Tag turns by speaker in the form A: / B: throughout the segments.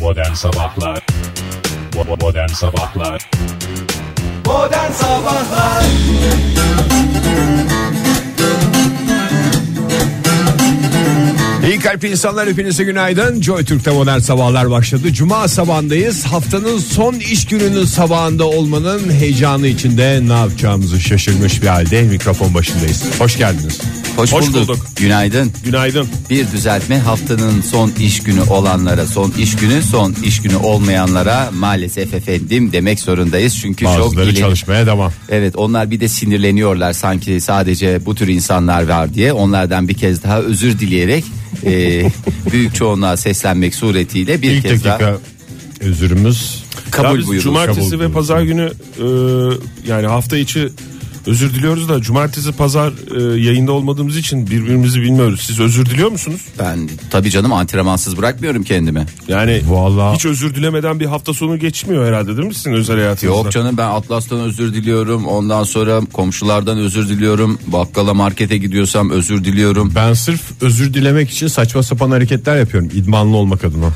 A: Modern Sabahlar Bo- Modern Sabahlar
B: Modern Sabahlar
C: İyi kalpli insanlar hepinize günaydın. Joy Türk'te modern sabahlar başladı. Cuma sabahındayız. Haftanın son iş gününün sabahında olmanın heyecanı içinde ne yapacağımızı şaşırmış bir halde mikrofon başındayız. Hoş geldiniz.
D: Hoş,
E: Hoş
D: bulduk.
E: bulduk.
D: Günaydın.
E: Günaydın.
D: Bir düzeltme haftanın son iş günü olanlara, son iş günü, son iş günü olmayanlara maalesef efendim demek zorundayız. Çünkü çok
C: Bazıları
D: ileri-
C: çalışmaya devam.
D: Evet onlar bir de sinirleniyorlar sanki sadece bu tür insanlar var diye. Onlardan bir kez daha özür dileyerek e, büyük çoğunluğa seslenmek suretiyle bir
C: İlk
D: kez daha
C: dakika özürümüz.
D: kabul
E: Ya biz
D: buyurulur.
E: Cumartesi
C: kabul
E: ve
C: buyurulur.
E: pazar günü e, yani hafta içi özür diliyoruz da cumartesi pazar
C: Ee,
E: e, yayında olmadığımız için birbirimizi bilmiyoruz. Siz özür diliyor musunuz?
D: Ben tabii canım antrenmansız bırakmıyorum kendimi.
E: Yani
C: Vallahi-
E: hiç özür dilemeden bir hafta sonu geçmiyor herhalde değil mi sizin özel hayatınızda?
D: Yok canım ben Atlas'tan özür diliyorum. Ondan sonra komşulardan özür diliyorum. Bakkala markete gidiyorsam özür diliyorum.
C: Ben sırf özür dilemek için saçma sapan hareketler yapıyorum. İdmanlı olmak adına.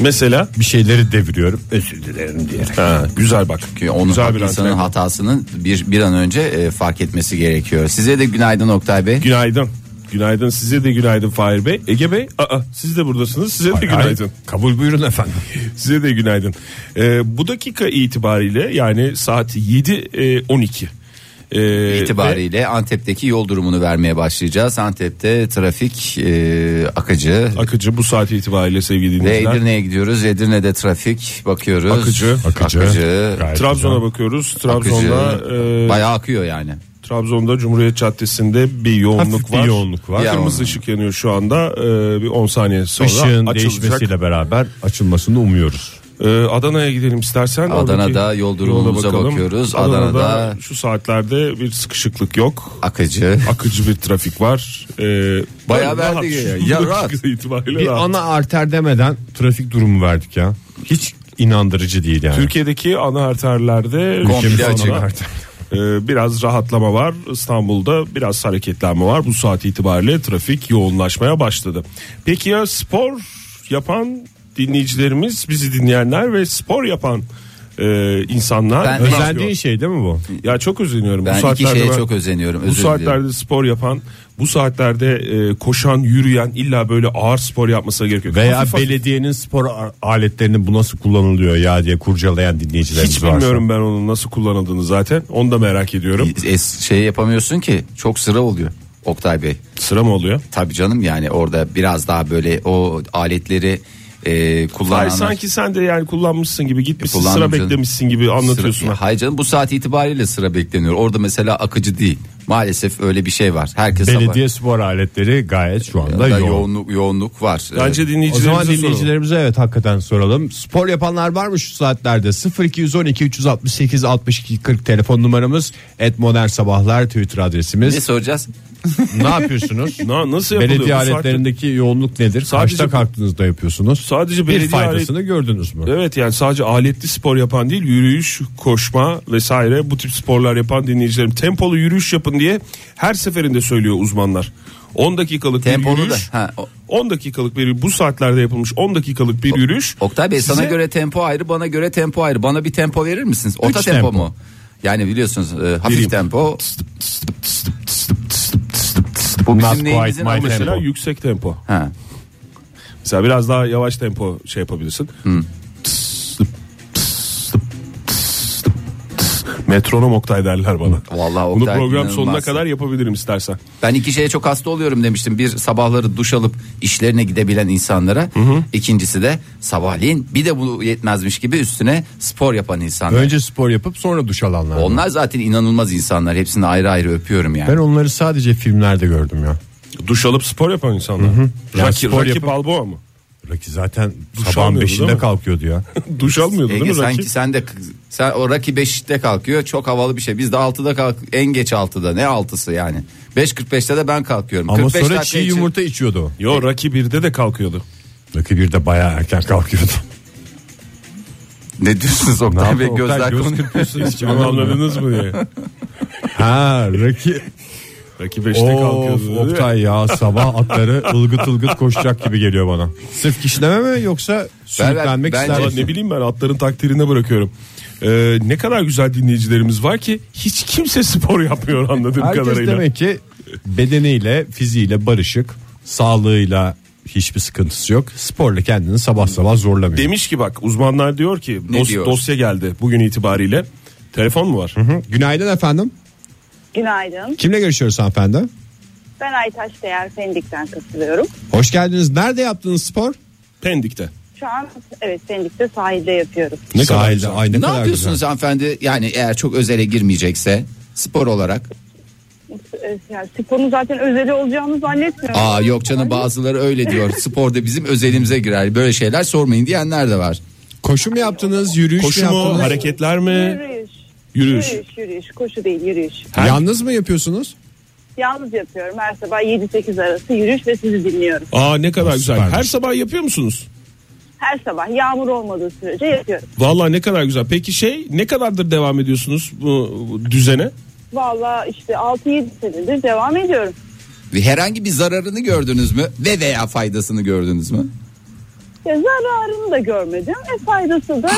E: Mesela
C: Bir şeyleri deviriyorum. Özür dilerim diyerek.
E: ha, güzel bak.
D: Çünkü onu
E: Güzel bir
D: insanın
E: antrenman.
D: hatasının bir bir an önce e, fark etmesi gerekiyor. Size de günaydın Oktay Bey.
E: Günaydın. Günaydın size de günaydın Fahir Bey. Ege Bey aa, siz de buradasınız size de günaydın.
C: Kabul buyurun efendim.
E: Size de günaydın. Ee, bu dakika itibariyle yani saat 7.12 e,
D: İtibariyle Antep'teki yol durumunu vermeye başlayacağız. Antep'te trafik e, akıcı.
E: ve Akıcı bu saat itibariyle sevgili
D: Ve
E: dinleyiciler.
D: Edirne'ye gidiyoruz. Edirne'de trafik bakıyoruz.
E: Akıcı.
D: Akıcı.
C: Akıcı. Gayet
E: Trabzon'a bakıyoruz. Trabzon'da
D: Akıcı.
E: e,
D: Bayağı akıyor yani.
E: Trabzon'da Cumhuriyet Caddesi'nde bir yoğunluk
C: Hafif bir
E: var.
C: yoğunluk var.
E: Kırmızı
D: Yoğunluk.
E: ışık yanıyor şu anda. E, bir 10 saniye sonra
C: Işığın
E: açılacak.
C: değişmesiyle beraber açılmasını umuyoruz.
E: E, Adana'ya gidelim istersen.
D: Adana'da
E: Oradaki
D: yol
E: yola
D: durumumuza
E: bakalım.
D: bakıyoruz. Adana'da-
E: şu saatlerde bir sıkışıklık yok.
D: Akıcı.
E: Akıcı bir trafik var. E,
D: Bayağı
E: rahat.
D: verdi ya. Ya
E: Bu
D: rahat.
E: dakika itibariyle
C: Bir
E: rahat.
C: ana arter demeden trafik durumu verdik ya. Hiç inandırıcı değil yani.
E: Türkiye'deki ana arterlerde
D: Komple
E: ülkemiz
D: açık.
E: ana arter. Ee, biraz rahatlama var. İstanbul'da biraz hareketlenme var. Bu saat itibariyle trafik yoğunlaşmaya başladı. Peki ya spor yapan dinleyicilerimiz, bizi dinleyenler ve spor yapan e, insanlar
D: Ben-
E: ne
C: Özendiğin
E: yapıyor?
C: şey değil mi bu?
E: Ya çok özeniyorum. bu
D: Ben iki
E: saatlerde
D: şeye
E: ben-
D: çok özeniyorum.
E: bu
D: Özür diliyorum.
E: saatlerde spor yapan, bu saatlerde e, koşan, yürüyen illa böyle ağır spor yapmasına gerek yok.
C: Veya
E: Hafif hafif-
C: belediyenin spor a- aletlerinin bu nasıl kullanılıyor ya diye kurcalayan dinleyicilerimiz
E: hiç
C: varsa.
E: bilmiyorum ben onun nasıl kullanıldığını zaten. Onu da merak ediyorum.
D: Es- şey yapamıyorsun ki çok sıra oluyor Oktay Bey.
E: Sıra mı oluyor?
D: Tabii canım yani orada biraz daha böyle o aletleri e,
E: Hayır
D: kullananlar.
E: sanki sen de yani kullanmışsın gibi gitmişsin
D: Kullandım
E: sıra
D: canım.
E: beklemişsin gibi anlatıyorsun.
D: E, Sıra, hayır canım bu saat itibariyle sıra bekleniyor. Orada mesela akıcı değil. Maalesef öyle bir şey var. Herkes
C: Belediye spor aletleri gayet şu
D: sabah
C: anda
D: da
C: yoğun.
D: yoğunluk yoğunluk var.
E: Bence
D: Ee,
C: O zaman
E: dinleyicilerimize soralım.
C: dinleyicilerimize evet hakikaten soralım. Spor yapanlar var mı şu saatlerde? 0212 368 62 40 telefon numaramız. Et Modern Sabahlar Twitter
D: ne
C: adresimiz.
D: soracağız?
C: ne yapıyorsunuz?
E: Na, nasıl yapılıyor
C: Belediye
E: bu saatte?
C: aletlerindeki yoğunluk nedir?
E: Sadece-
C: Kaçta kalktığınızda yapıyorsunuz?
E: Sadece
C: bir
E: belediye
C: faydasını gördünüz mü?
E: Evet yani sadece aletli spor yapan değil yürüyüş, koşma vesaire bu tip sporlar yapan dinleyicilerim tempolu yürüyüş yapın diye her seferinde söylüyor uzmanlar. 10 dakikalık
D: Tempolu
E: bir
D: da,
E: yürüyüş.
D: ha, o-
E: 10 dakikalık bir bu saatlerde yapılmış 10 dakikalık bir yürüyüş.
D: Oktay Bey sana
E: size-
D: göre tempo ayrı bana göre tempo ayrı. Bana bir tempo verir misiniz? Ota
C: Üç
D: tempo,
C: tempo.
D: mu? Yani biliyorsunuz e, hafif
E: Vereyim.
D: tempo. Bu
C: Not
D: bizim neyimizin
C: quite my
D: anlaşılır.
C: tempo.
E: Mesela yüksek tempo.
D: Ha.
E: Mesela biraz daha yavaş tempo şey yapabilirsin.
C: Hmm.
E: Tıs, tıp, tıs, tıp, tıs, tıp, tıs. Metronom Oktay derler bana.
D: Vallahi
E: Bunu
D: Oktay
E: program sonuna
D: inanılmaz.
E: kadar yapabilirim istersen.
D: Ben iki şeye çok hasta oluyorum demiştim. Bir sabahları duş alıp işlerine gidebilen insanlara. İkincisi de sabahleyin bir de bu yetmezmiş gibi üstüne spor yapan insanlar.
C: Önce spor yapıp sonra duş alanlar. var.
D: Onlar zaten inanılmaz insanlar. Hepsini ayrı ayrı öpüyorum yani.
C: Ben onları sadece filmlerde gördüm ya.
E: Duş alıp spor yapan insanlar.
C: Yani
E: Rocky,
C: spor
E: Rocky
C: yapıp-
E: Balboa mı?
C: Rocky zaten
E: Duş
C: sabahın
E: almıyordu, değil
C: beşinde
E: mi?
C: kalkıyordu ya.
E: Duş almıyordu değil
D: Ege
E: mi Rocky?
D: sanki sen de sen o Raki 5'te kalkıyor. Çok havalı bir şey. Biz de 6'da kalk en geç 6'da. Ne 6'sı yani? 5.45'te de ben kalkıyorum.
C: Ama
D: 45
C: sonra
D: dakika
C: çiğ
D: için-
C: yumurta içiyordu. o.
E: Yo Rocky 1'de de kalkıyordu.
C: Rocky bir de bayağı erken kalkıyordu.
D: Ne diyorsunuz
C: Ne
D: Oktay
C: yaptı
D: Bey
C: Oktay?
D: gözler
C: Göz
D: konuyor.
C: kırpıyorsun hiç
E: Onu
C: anlamadım.
E: anladınız mı diye.
C: ha Rocky
E: Rakip beşte kalkıyordu.
C: Of Oktay ya sabah atları ılgıt ılgıt koşacak gibi geliyor bana. Sırf kişneme mi yoksa sürüklenmek
D: ben-
C: ister
E: Valla
C: misin?
E: ne bileyim ben atların takdirine bırakıyorum. Ee, ne kadar güzel dinleyicilerimiz var ki hiç kimse spor yapmıyor anladığım
C: Herkes
E: kadarıyla.
C: demek ki bedeniyle, fiziğiyle barışık, sağlığıyla hiçbir sıkıntısı yok. Sporla kendini sabah sabah zorlamıyor.
E: Demiş ki bak uzmanlar diyor ki
D: Ne
E: dos-
D: diyor?
E: dosya geldi bugün itibariyle. Telefon mu var?
C: Günaydın efendim.
F: Günaydın.
C: Kimle görüşüyoruz hanımefendi?
F: Ben Aytaş Değer Pendik'ten katılıyorum.
C: Hoş geldiniz. Nerede yaptığınız spor?
E: Pendik'te.
F: Şu an evet Pendik'te sahilde yapıyoruz.
C: Ne
E: kadar
C: Sahilde.
E: güzel.
C: Ay ne,
D: Ne,
C: kadar
D: yapıyorsunuz
C: güzel.
D: hanımefendi? Yani eğer çok özele girmeyecekse spor olarak.
F: E, Yani sporun zaten özeli olacağını zannetmiyorum.
D: Aa yok canım bazıları öyle diyor. Spor da bizim özelimize girer. Böyle şeyler sormayın diyenler de var.
C: Koşu mu yaptınız? Yürüyüş
E: Koşu
C: mü
E: mu,
C: yaptınız?
E: hareketler mi?
F: Yürüyüş.
E: Yürüyüş.
F: Yürüyüş, yürüyüş. Koşu değil yürüyüş.
C: Yalnız mı yapıyorsunuz?
F: Yalnız yapıyorum. Her sabah 7-8 arası yürüyüş ve sizi dinliyorum.
E: Aa ne kadar güzel.
C: Süpermiş.
E: Her sabah yapıyor musunuz?
F: Her sabah yağmur olmadığı sürece yapıyorum.
E: Valla ne kadar güzel. Peki şey ne kadardır devam ediyorsunuz bu, bu düzene?
F: Valla işte 6-7 senedir devam ediyorum.
D: Ve Herhangi bir zararını gördünüz mü? Ve veya faydasını gördünüz mü?
F: Ya zararını da görmedim. E faydası da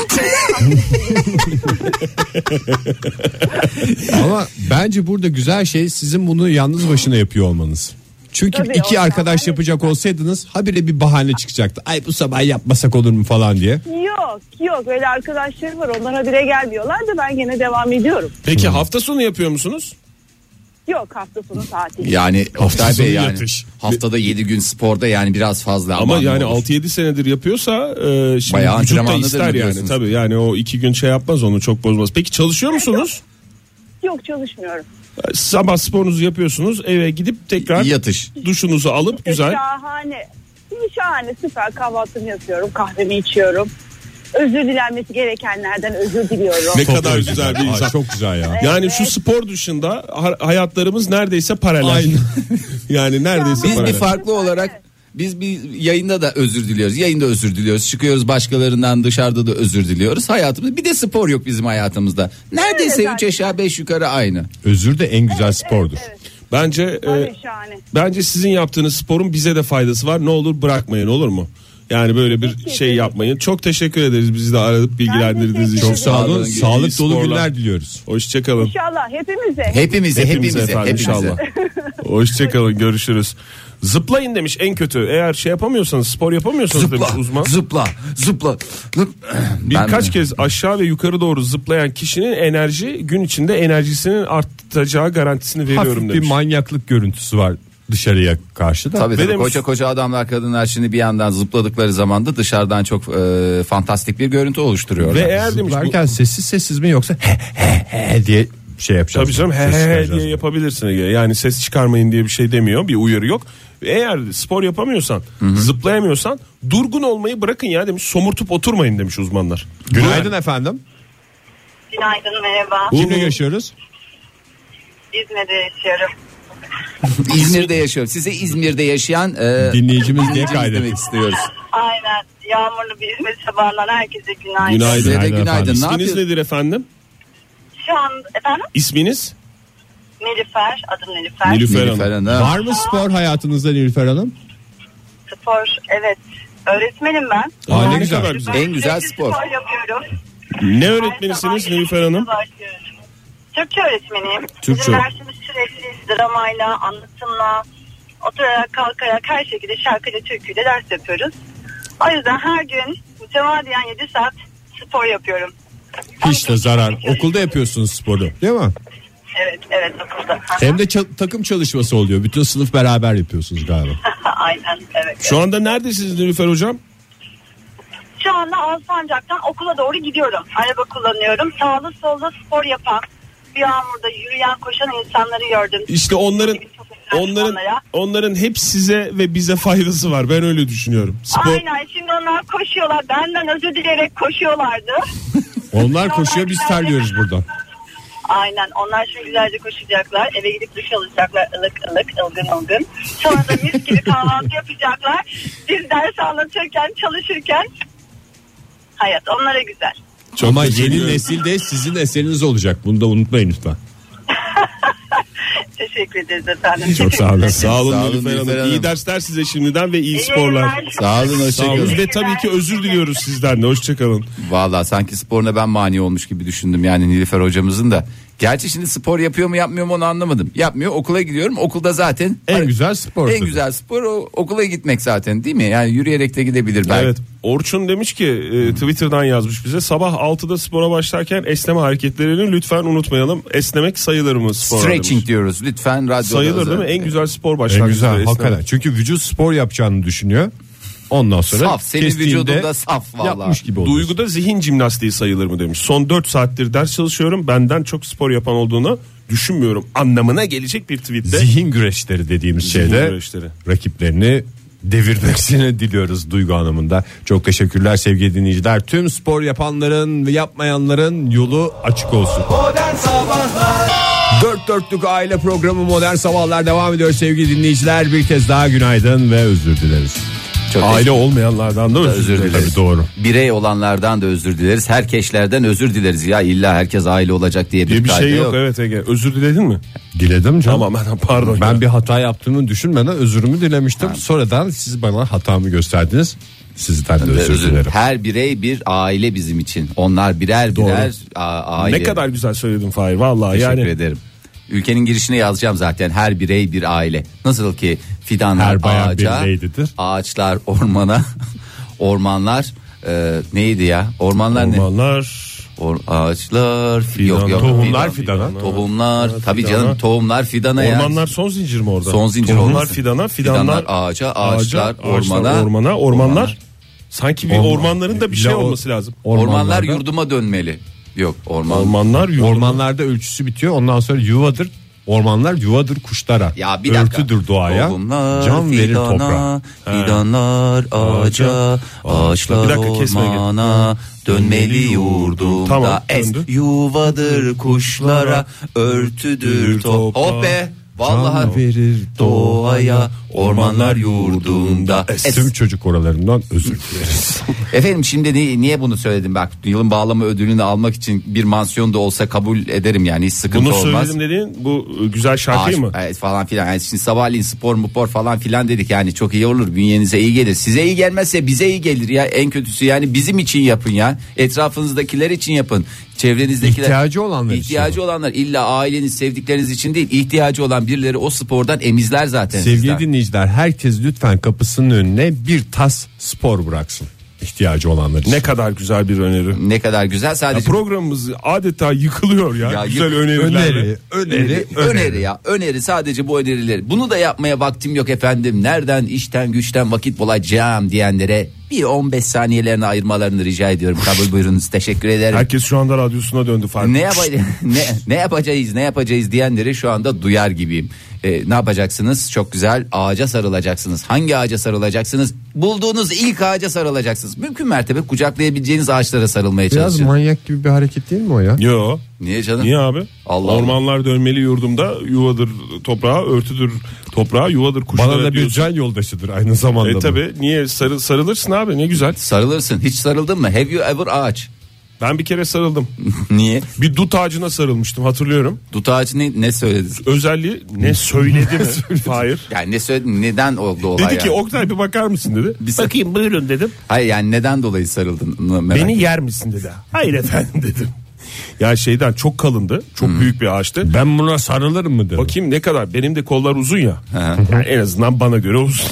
C: Ama bence burada güzel şey sizin bunu yalnız başına yapıyor olmanız. Çünkü
F: Tabii,
C: iki
F: o-
C: arkadaş yapacak olsaydınız habire bir bahane çıkacaktı. Ay bu sabah yapmasak olur mu falan diye.
F: yok yok. Öyle arkadaşlarım var. Onlara bile gelmiyorlar da ben gene devam ediyorum.
C: Hmm.
E: Peki hafta sonu yapıyor musunuz?
F: Yok hafta sonu tatil.
D: Yani Oktay
C: sonu
D: Bey yani
C: yatış.
D: haftada 7 gün sporda yani biraz fazla.
E: Ama
D: aman
E: yani
D: ne olur.
E: 6-7 senedir yapıyorsa e, şimdi
D: Bayağı
E: vücut da
D: antrenmanlıdır
E: ister yani.
D: diyorsunuz.
E: Tabii yani o iki gün şey yapmaz onu çok bozmaz. Peki çalışıyor musunuz?
F: Yok çalışmıyorum.
E: Sabah sporunuzu yapıyorsunuz eve gidip tekrar
D: yatış.
E: duşunuzu alıp güzel.
F: E, Şahane. Şahane süper kahvaltımı yapıyorum. Kahvemi içiyorum. Özür dilenmesi gerekenlerden özür diliyorum.
E: Ne
C: Çok
E: kadar
C: özür
E: güzel bir
C: dilerim. Ay,
E: insan.
C: Çok güzel ya.
E: Yani
F: Evet.
E: şu spor dışında ha- hayatlarımız neredeyse paralel.
C: Aynen.
E: yani neredeyse
D: Biz bir
E: paralel.
D: farklı olarak biz bir yayında da özür diliyoruz. Yayında özür diliyoruz. Çıkıyoruz başkalarından dışarıda da özür diliyoruz. Hayatımızda bir de spor yok bizim hayatımızda. Neredeyse 3
F: Evet,
D: aşağı 5 yukarı aynı.
C: Özür de en güzel spordur.
E: Bence e,
F: Tabii şahane.
E: bence sizin yaptığınız sporun bize de faydası var. Ne olur bırakmayın olur mu? Yani böyle bir şey yapmayın. Çok teşekkür ederiz bizi de aradıp bilgilendirdiğiniz için.
F: teşekkür
C: Çok sağ olun.
D: Pardon,
C: Sağlık dolu
E: sporlar.
C: günler diliyoruz.
E: Hoşçakalın.
F: İnşallah hepimize.
D: Hepimize hepimize hepimize.
E: efendim inşallah. Hoşçakalın görüşürüz. Zıplayın demiş en kötü. Eğer şey yapamıyorsanız spor yapamıyorsanız demiş uzman.
D: Zıpla, zıpla, zıpla.
E: Birkaç kez aşağı ve yukarı doğru zıplayan kişinin enerji gün içinde enerjisinin artacağı garantisini veriyorum
C: Hafif bir
E: demiş.
C: manyaklık görüntüsü var dışarıya karşı da.
D: Tabii
E: Ve
D: tabii
E: demiş-
D: koca koca adamlar kadınlar şimdi bir yandan zıpladıkları zaman da dışarıdan çok e, fantastik bir görüntü
E: ve
D: oluşturuyorlar.
E: eğer demiş bu,
C: Zıplarken sessiz sessiz mi yoksa he he he diye şey yapacağız.
E: Tabii canım he
C: Ses
E: he he
C: çıkaracağız.
E: diye yapabilirsin Ege. Yani ses çıkarmayın diye bir şey demiyor. Bir uyarı yok. Eğer spor yapamıyorsan, zıplayamıyorsan durgun olmayı bırakın ya demiş. Somurtup oturmayın demiş uzmanlar.
C: Günaydın efendim.
F: Günaydın merhaba.
C: Kimle görüşüyoruz?
F: İzmir'de yaşıyorum.
D: İzmir'de yaşıyorum. Size İzmir'de yaşayan e,
C: Dinleyicimiz diye
D: dinleyicimiz
C: kaydettik.
D: demek istiyoruz.
F: Aynen. Yağmurlu bir İzmir sabahından herkese günaydın.
E: Günaydın.
D: Size de
C: Günaydın efendim.
D: günaydın. Ne
E: İsminiz
D: yapıyorsunuz?
E: nedir efendim?
F: Şu an efendim
E: İsminiz?
F: Nilüfer. Adım Nilüfer.
E: Nilüfer Hanım.
D: Nilüfer Hanım.
C: Var mı spor hayatınızda Nilüfer Hanım?
F: Spor. Evet. Öğretmenim ben.
E: Aa, ne
F: Ben
E: güzel.
F: sürekli
E: güzel.
D: En güzel spor.
F: yapıyorum.
E: Ne
F: Her
E: öğretmenisiniz
F: sabah
E: Nilüfer Hanım?
F: başlıyorum. Türkçe öğretmeniyim.
E: Türkçe.
F: Bizim dersimiz sürekli dramayla, anlatımla, oturarak, kalkarak her şekilde şarkıyla, türküyle ders yapıyoruz. O yüzden her gün mütevadiyen 7 saat spor yapıyorum.
C: Hiç de zarar. Okulda yapıyorsunuz sporu değil mi?
F: Evet, evet okulda.
C: Hem de ça- takım çalışması oluyor. Bütün sınıf beraber yapıyorsunuz galiba.
F: Aynen, evet.
E: Şu anda neredesiniz Nilüfer Hocam?
F: Şu anda Alsancak'tan okula doğru gidiyorum. Araba kullanıyorum. Sağda solda spor yapan, bir yağmurda yürüyen, koşan insanları gördüm.
E: İşte onların onların
F: İnsanlara.
E: onların hep size ve bize faydası var. Ben öyle düşünüyorum. Spor
F: Aynen şimdi onlar koşuyorlar. Benden özür dileyerek koşuyorlardı.
C: Onlar koşuyor biz terliyoruz buradan.
F: Aynen onlar şimdi güzelce koşacaklar. Eve gidip duş alacaklar ılık ılık ılgın ılgın. Sonra da mis gibi kahvaltı yapacaklar. Biz ders anlatırken çalışırken hayat onlara güzel.
C: Çok Ama
E: teşekkür
C: yeni
E: ederim.
C: nesilde sizin eseriniz olacak. Bunu da unutmayın lütfen.
F: Teşekkür ederiz efendim.
E: Çok sağ olun. Sağ olun,
G: Sağ olun
E: Nilüfer
G: Nilüfer
E: Hanım.
G: Hanım.
E: İyi dersler size şimdiden ve iyi
F: İyi
E: sporlar.
F: yayınlar.
G: Sağ olun
E: Sağ
G: hoşçakalın.
E: olun. Ve tabii ki özür diliyoruz sizden de. Hoşçakalın.
D: Valla sanki sporuna ben mani olmuş gibi düşündüm yani Nilüfer hocamızın da. Gerçi şimdi spor yapıyor mu yapmıyor mu onu anlamadım. Yapmıyor okula gidiyorum okulda zaten.
C: En güzel spor.
D: En güzel spor o, okula gitmek zaten değil mi? Yani yürüyerek de gidebilir belki.
E: Evet. Orçun demiş ki e, Twitter'dan yazmış bize sabah 6'da spora başlarken esneme hareketlerini lütfen unutmayalım. Esnemek sayılır mı spora?
D: Stretching
E: demiş.
D: diyoruz lütfen radyoda.
E: Sayılır değil mi?
D: özellikle.
E: En güzel spor
C: En
E: başlangıcı.
C: güzel
E: esneme.
C: hakikaten. Çünkü vücut spor yapacağını düşünüyor. Ondan sonra
D: Saf senin
C: kestiğinde
D: vücudunda saf valla.
C: yapmış gibi oluyor.
E: Duyguda zihin jimnastiği sayılır mı demiş. Son 4 saattir ders çalışıyorum. Benden çok spor yapan olduğunu düşünmüyorum. Anlamına gelecek bir tweette.
C: Zihin güreşleri dediğimiz
E: Zihin
C: şeyde
E: güreşleri.
C: rakiplerini devirmesini diliyoruz duygu anlamında. Çok teşekkürler sevgili dinleyiciler. Tüm spor yapanların ve yapmayanların yolu açık olsun.
H: Modern Sabahlar
C: Dört dörtlük aile programı Modern Sabahlar devam ediyor sevgili dinleyiciler. Bir kez daha günaydın ve özür dileriz.
D: Çok
C: aile olmayanlardan da özür,
D: özür
C: dileriz.
D: dileriz.
C: Tabii doğru.
D: Birey olanlardan da özür dileriz. Herkeşlerden özür dileriz. Ya illa herkes aile olacak diye bir,
E: diye bir
D: kaide
E: şey yok. Evet Ege. Özür diledin mi?
C: Diledim canım.
E: Tamam ben pardon.
C: Ben
E: ya.
C: bir hata yaptığımı düşünmeden özürümü dilemiştim. Sonradan siz bana hatamı gösterdiniz. Sizden de özür,
D: Ee, Özür.
C: dilerim.
D: Her birey bir aile bizim için. Onlar birer birer a- aile.
E: ne kadar güzel söyledin Fahir. Vallahi
D: Teşekkür
E: yani.
D: ederim. Ülkenin girişine yazacağım zaten her birey bir aile. Nasıl ki fidanlar
C: Her bayan
D: ağaca,
C: bir leydidir.
D: ağaçlar ormana, ormanlar e, neydi ya? Ormanlar ne?
E: Ormanlar.
D: Or- ağaçlar, fi-
E: Fidan,
D: yok yok. Fidan,
E: tohumlar fidana.
D: Tohumlar,
E: Fidana.
D: tabii canım tohumlar fidana ya.
E: Ormanlar son zincir mi orada?
D: Son zincir
E: Tohumlar
D: olması.
E: fidana,
D: Fidanlar
E: fidanlar,
D: ağaca, ağaçlar ormana.
E: ormana, ormanlar. Sanki bir
C: Orman.
E: ormanların da bir şey
C: İlla o-
E: olması lazım.
D: Ormanlar
C: Ormanlarda-
D: yurduma dönmeli. Yok orman.
E: Ormanlar yurdu.
C: Ormanlarda ölçüsü bitiyor. Ondan sonra yuvadır. Ormanlar yuvadır kuşlara.
D: Ya bir dakika.
C: Örtüdür doğaya.
D: Tohumlar
C: can verir
D: fidana,
C: toprağa.
D: Fidanlar ağaca, ağaçlar
E: Bir dakika, kesme Ege.
D: ormana dönmeli yurdumda.
E: Tamam,
D: es
E: döndü.
D: yuvadır kuşlara, örtüdür top.
E: toprağa.
D: Hop be.
C: Can
D: Vallahi
C: verir
D: doğaya, ormanlar yurdunda.
C: Es. E, Tüm çocuk oralarından özür dileriz.
D: Efendim şimdi ni- niye bunu söyledim bak yılın bağlama ödülünü almak için bir mansiyon da olsa kabul ederim yani hiç sıkıntı
E: Bunu
D: olmaz.
E: söyledim dediğin bu e, güzel
D: Ağaç,
E: şarkıyı mı?
D: evet, falan filan. Yani şimdi sabahleyin spor mupor falan filan dedik yani çok iyi olur bünyenize iyi gelir. Size iyi gelmezse bize iyi gelir ya en kötüsü yani bizim için yapın ya. Etrafınızdakiler için yapın. Çevrenizdekiler.
C: İhtiyacı olanlar için
D: İhtiyacı olanlar illa aileniz sevdikleriniz için değil ihtiyacı olan birileri o spordan emizler zaten.
C: Sevgili
D: sizden.
C: dinleyiciler herkes lütfen kapısının önüne bir tas spor bıraksın. İhtiyacı olanlar için.
E: şey Ne kadar güzel bir öneri.
D: Ne kadar güzel
E: Ya
D: sadece
E: programımız adeta yıkılıyor ya.
D: Ya
E: güzel
D: yık-
E: önerilerle.
C: Öneri, öneri,
D: öneri ya öneri sadece bu önerileri bunu da yapmaya vaktim yok efendim nereden işten güçten vakit bulacağım diyenlere bir 15 saniyelerini ayırmalarını rica ediyorum kabul buyurunuz teşekkür ederim.
E: Herkes şu anda radyosuna döndü Fahir.
D: Ne, yapa- ne, ne yapacağız ne yapacağız diyenleri şu anda duyar gibiyim. Ee, ne yapacaksınız? Çok güzel ağaca sarılacaksınız. Hangi ağaca sarılacaksınız? Bulduğunuz ilk ağaca sarılacaksınız. Mümkün mertebe kucaklayabileceğiniz ağaçlara sarılmaya
C: Biraz
D: çalışın.
C: manyak gibi bir hareket değil mi o ya?
E: Yo.
D: Niye canım?
E: Niye abi?
D: Allah
E: Ormanlar dönmeli yurdumda yuvadır toprağa, örtüdür toprağa, yuvadır kuşlara
C: Bana da bir
E: diyorsun.
C: can yoldaşıdır aynı zamanda.
E: E
C: da.
E: tabi niye sarı, sarılırsın abi ne güzel.
D: Sarılırsın. Hiç sarıldın mı? Have you ever ağaç?
E: Ben bir kere sarıldım.
D: Niye?
E: Bir dut ağacına sarılmıştım hatırlıyorum.
D: Dut ağacı ne, ne söyledi?
E: Özelliği ne söyledi mi? Hayır.
D: Yani ne söyledi? Neden oldu olay?
E: Dedi ki
D: yani?
E: Oktay bir bakar mısın dedi.
D: Bir sar-
E: Bakayım buyurun dedim.
D: Hayır yani neden dolayı sarıldın? Merak
E: Beni
D: ettim.
E: yer misin dedi. Hayır efendim dedim. Ya şeyden çok kalındı. Çok büyük bir ağaçtı.
C: Ben buna sarılırım mı dedim.
E: Bakayım ne kadar. Benim de kollar uzun ya. Yani en azından bana göre uzun.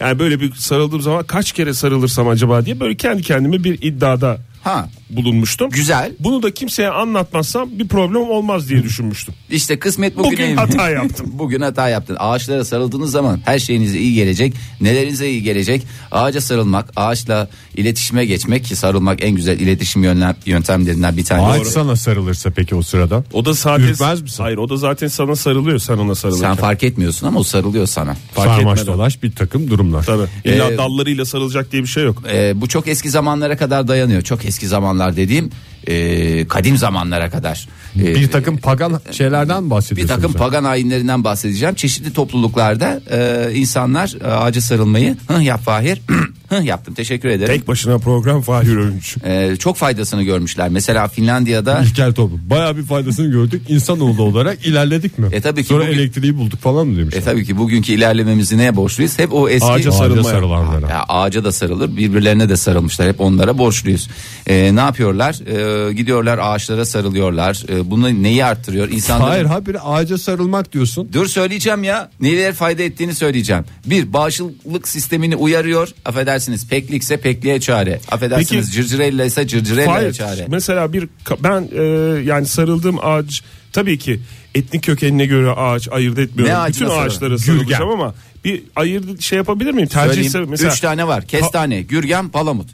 E: Yani böyle bir sarıldığım zaman kaç kere sarılırsam acaba diye böyle kendi kendime bir iddiada
D: Ha.
E: bulunmuştum.
D: Güzel.
E: Bunu da kimseye anlatmazsam bir problem olmaz diye düşünmüştüm.
D: İşte kısmet
E: Bugün
D: bugüneymiş.
E: hata yaptım.
D: Bugün hata yaptın. Ağaçlara sarıldığınız zaman her şeyinize iyi gelecek. Nelerinize iyi gelecek? Ağaca sarılmak, ağaçla iletişime geçmek ki sarılmak en güzel iletişim yönlem, yöntemlerinden bir
C: Ağaç
D: tanesi.
C: sana sarılırsa peki o sırada?
E: O da zaten
C: Ürkmez misin?
E: Hayır, o da zaten sana sarılıyor, sen ona sarılırken.
D: Sen fark etmiyorsun ama o sarılıyor sana.
E: Fark
C: Sarmaş
E: etmeden.
C: dolaş bir takım durumlar.
E: Tabii. İlla
D: Ee,
E: dallarıyla sarılacak diye bir şey yok.
D: Ee, bu çok eski zamanlara kadar dayanıyor. Çok eski zamanlar dediğim e, kadim zamanlara kadar. E,
C: Bir takım pagan şeylerden mi
D: bir
C: bahsediyorsunuz.
D: takım pagan ayinlerinden bahsedeceğim. Çeşitli topluluklarda e, insanlar e, ağaca sarılmayı hı yap Fahir hı yaptım teşekkür ederim.
E: Tek başına program Fahir Öğünç.
D: E, çok faydasını görmüşler. Mesela Finlandiya'da
C: İlkel toplum. Bayağı bir faydasını gördük. İnsanoğlu olarak ilerledik mi?
D: E tabii ki
C: Sonra
D: bugün-
C: elektriği bulduk falan mı demiş.
D: e tabii ki bugünkü ilerlememizi neye borçluyuz? Hep o eski
E: Ağaca
C: Ağaca
E: sarılmaya.
C: sarılanlara.
D: Ya ağaca da sarılır birbirlerine de sarılmışlar hep onlara borçluyuz. Ee, ne yapıyorlar? Ee, gidiyorlar ağaçlara sarılıyorlar. Ee, bunu neyi arttırıyor? İnsanların...
C: Hayır ha bir ağaca sarılmak diyorsun.
D: Dur söyleyeceğim ya. Neler fayda ettiğini söyleyeceğim. Bir bağışıklık sistemini uyarıyor. Affedersiniz peklikse pekliğe çare. Affedersiniz
E: Peki-
D: cırcırella ise cırcırella'ya
E: Fahir,
D: çare.
E: mesela bir ka- ben e, yani sarıldığım ağaç tabii ki etnik kökenine göre ağaç ayırt etmiyorum.
D: Ne ağacına
E: Bütün
D: sarılın?
E: ağaçlara
C: Gürgen.
E: sarılacağım ama bir ayırt şey yapabilir miyim? Tercih
D: Söyleyeyim.
E: ise mesela
D: Üç tane var. Kestane, gürgen, palamut.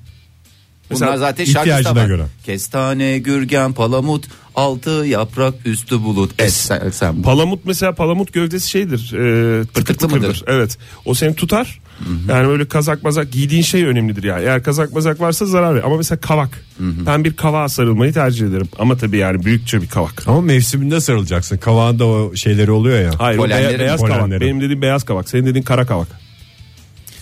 D: Bunlar
E: Mesela
D: zaten şarkıda
C: ihtiyacına
D: var.
C: göre.
D: Kestane, gürgen, palamut, altı yaprak, üstü bulut. Es, sen, sen-
E: Palamut mesela palamut gövdesi şeydir. E, tıkır
D: Tıkırtı
E: tıkırdır.
D: mıdır?
E: Evet. O seni tutar. Yani böyle kazak mazak giydiğin şey önemlidir yani. Eğer kazak mazak varsa zarar verir. Ama mesela kavak. Ben bir kavağa sarılmayı tercih ederim. Ama tabii yani büyükçe bir kavak.
C: Ama mevsiminde sarılacaksın. Kavağında o şeyleri oluyor ya.
E: Hayır o beya-
D: Polenlerin-
E: beyaz
C: Polenlerin.
E: kavak. Benim dediğim beyaz kavak. Senin dediğin kara kavak.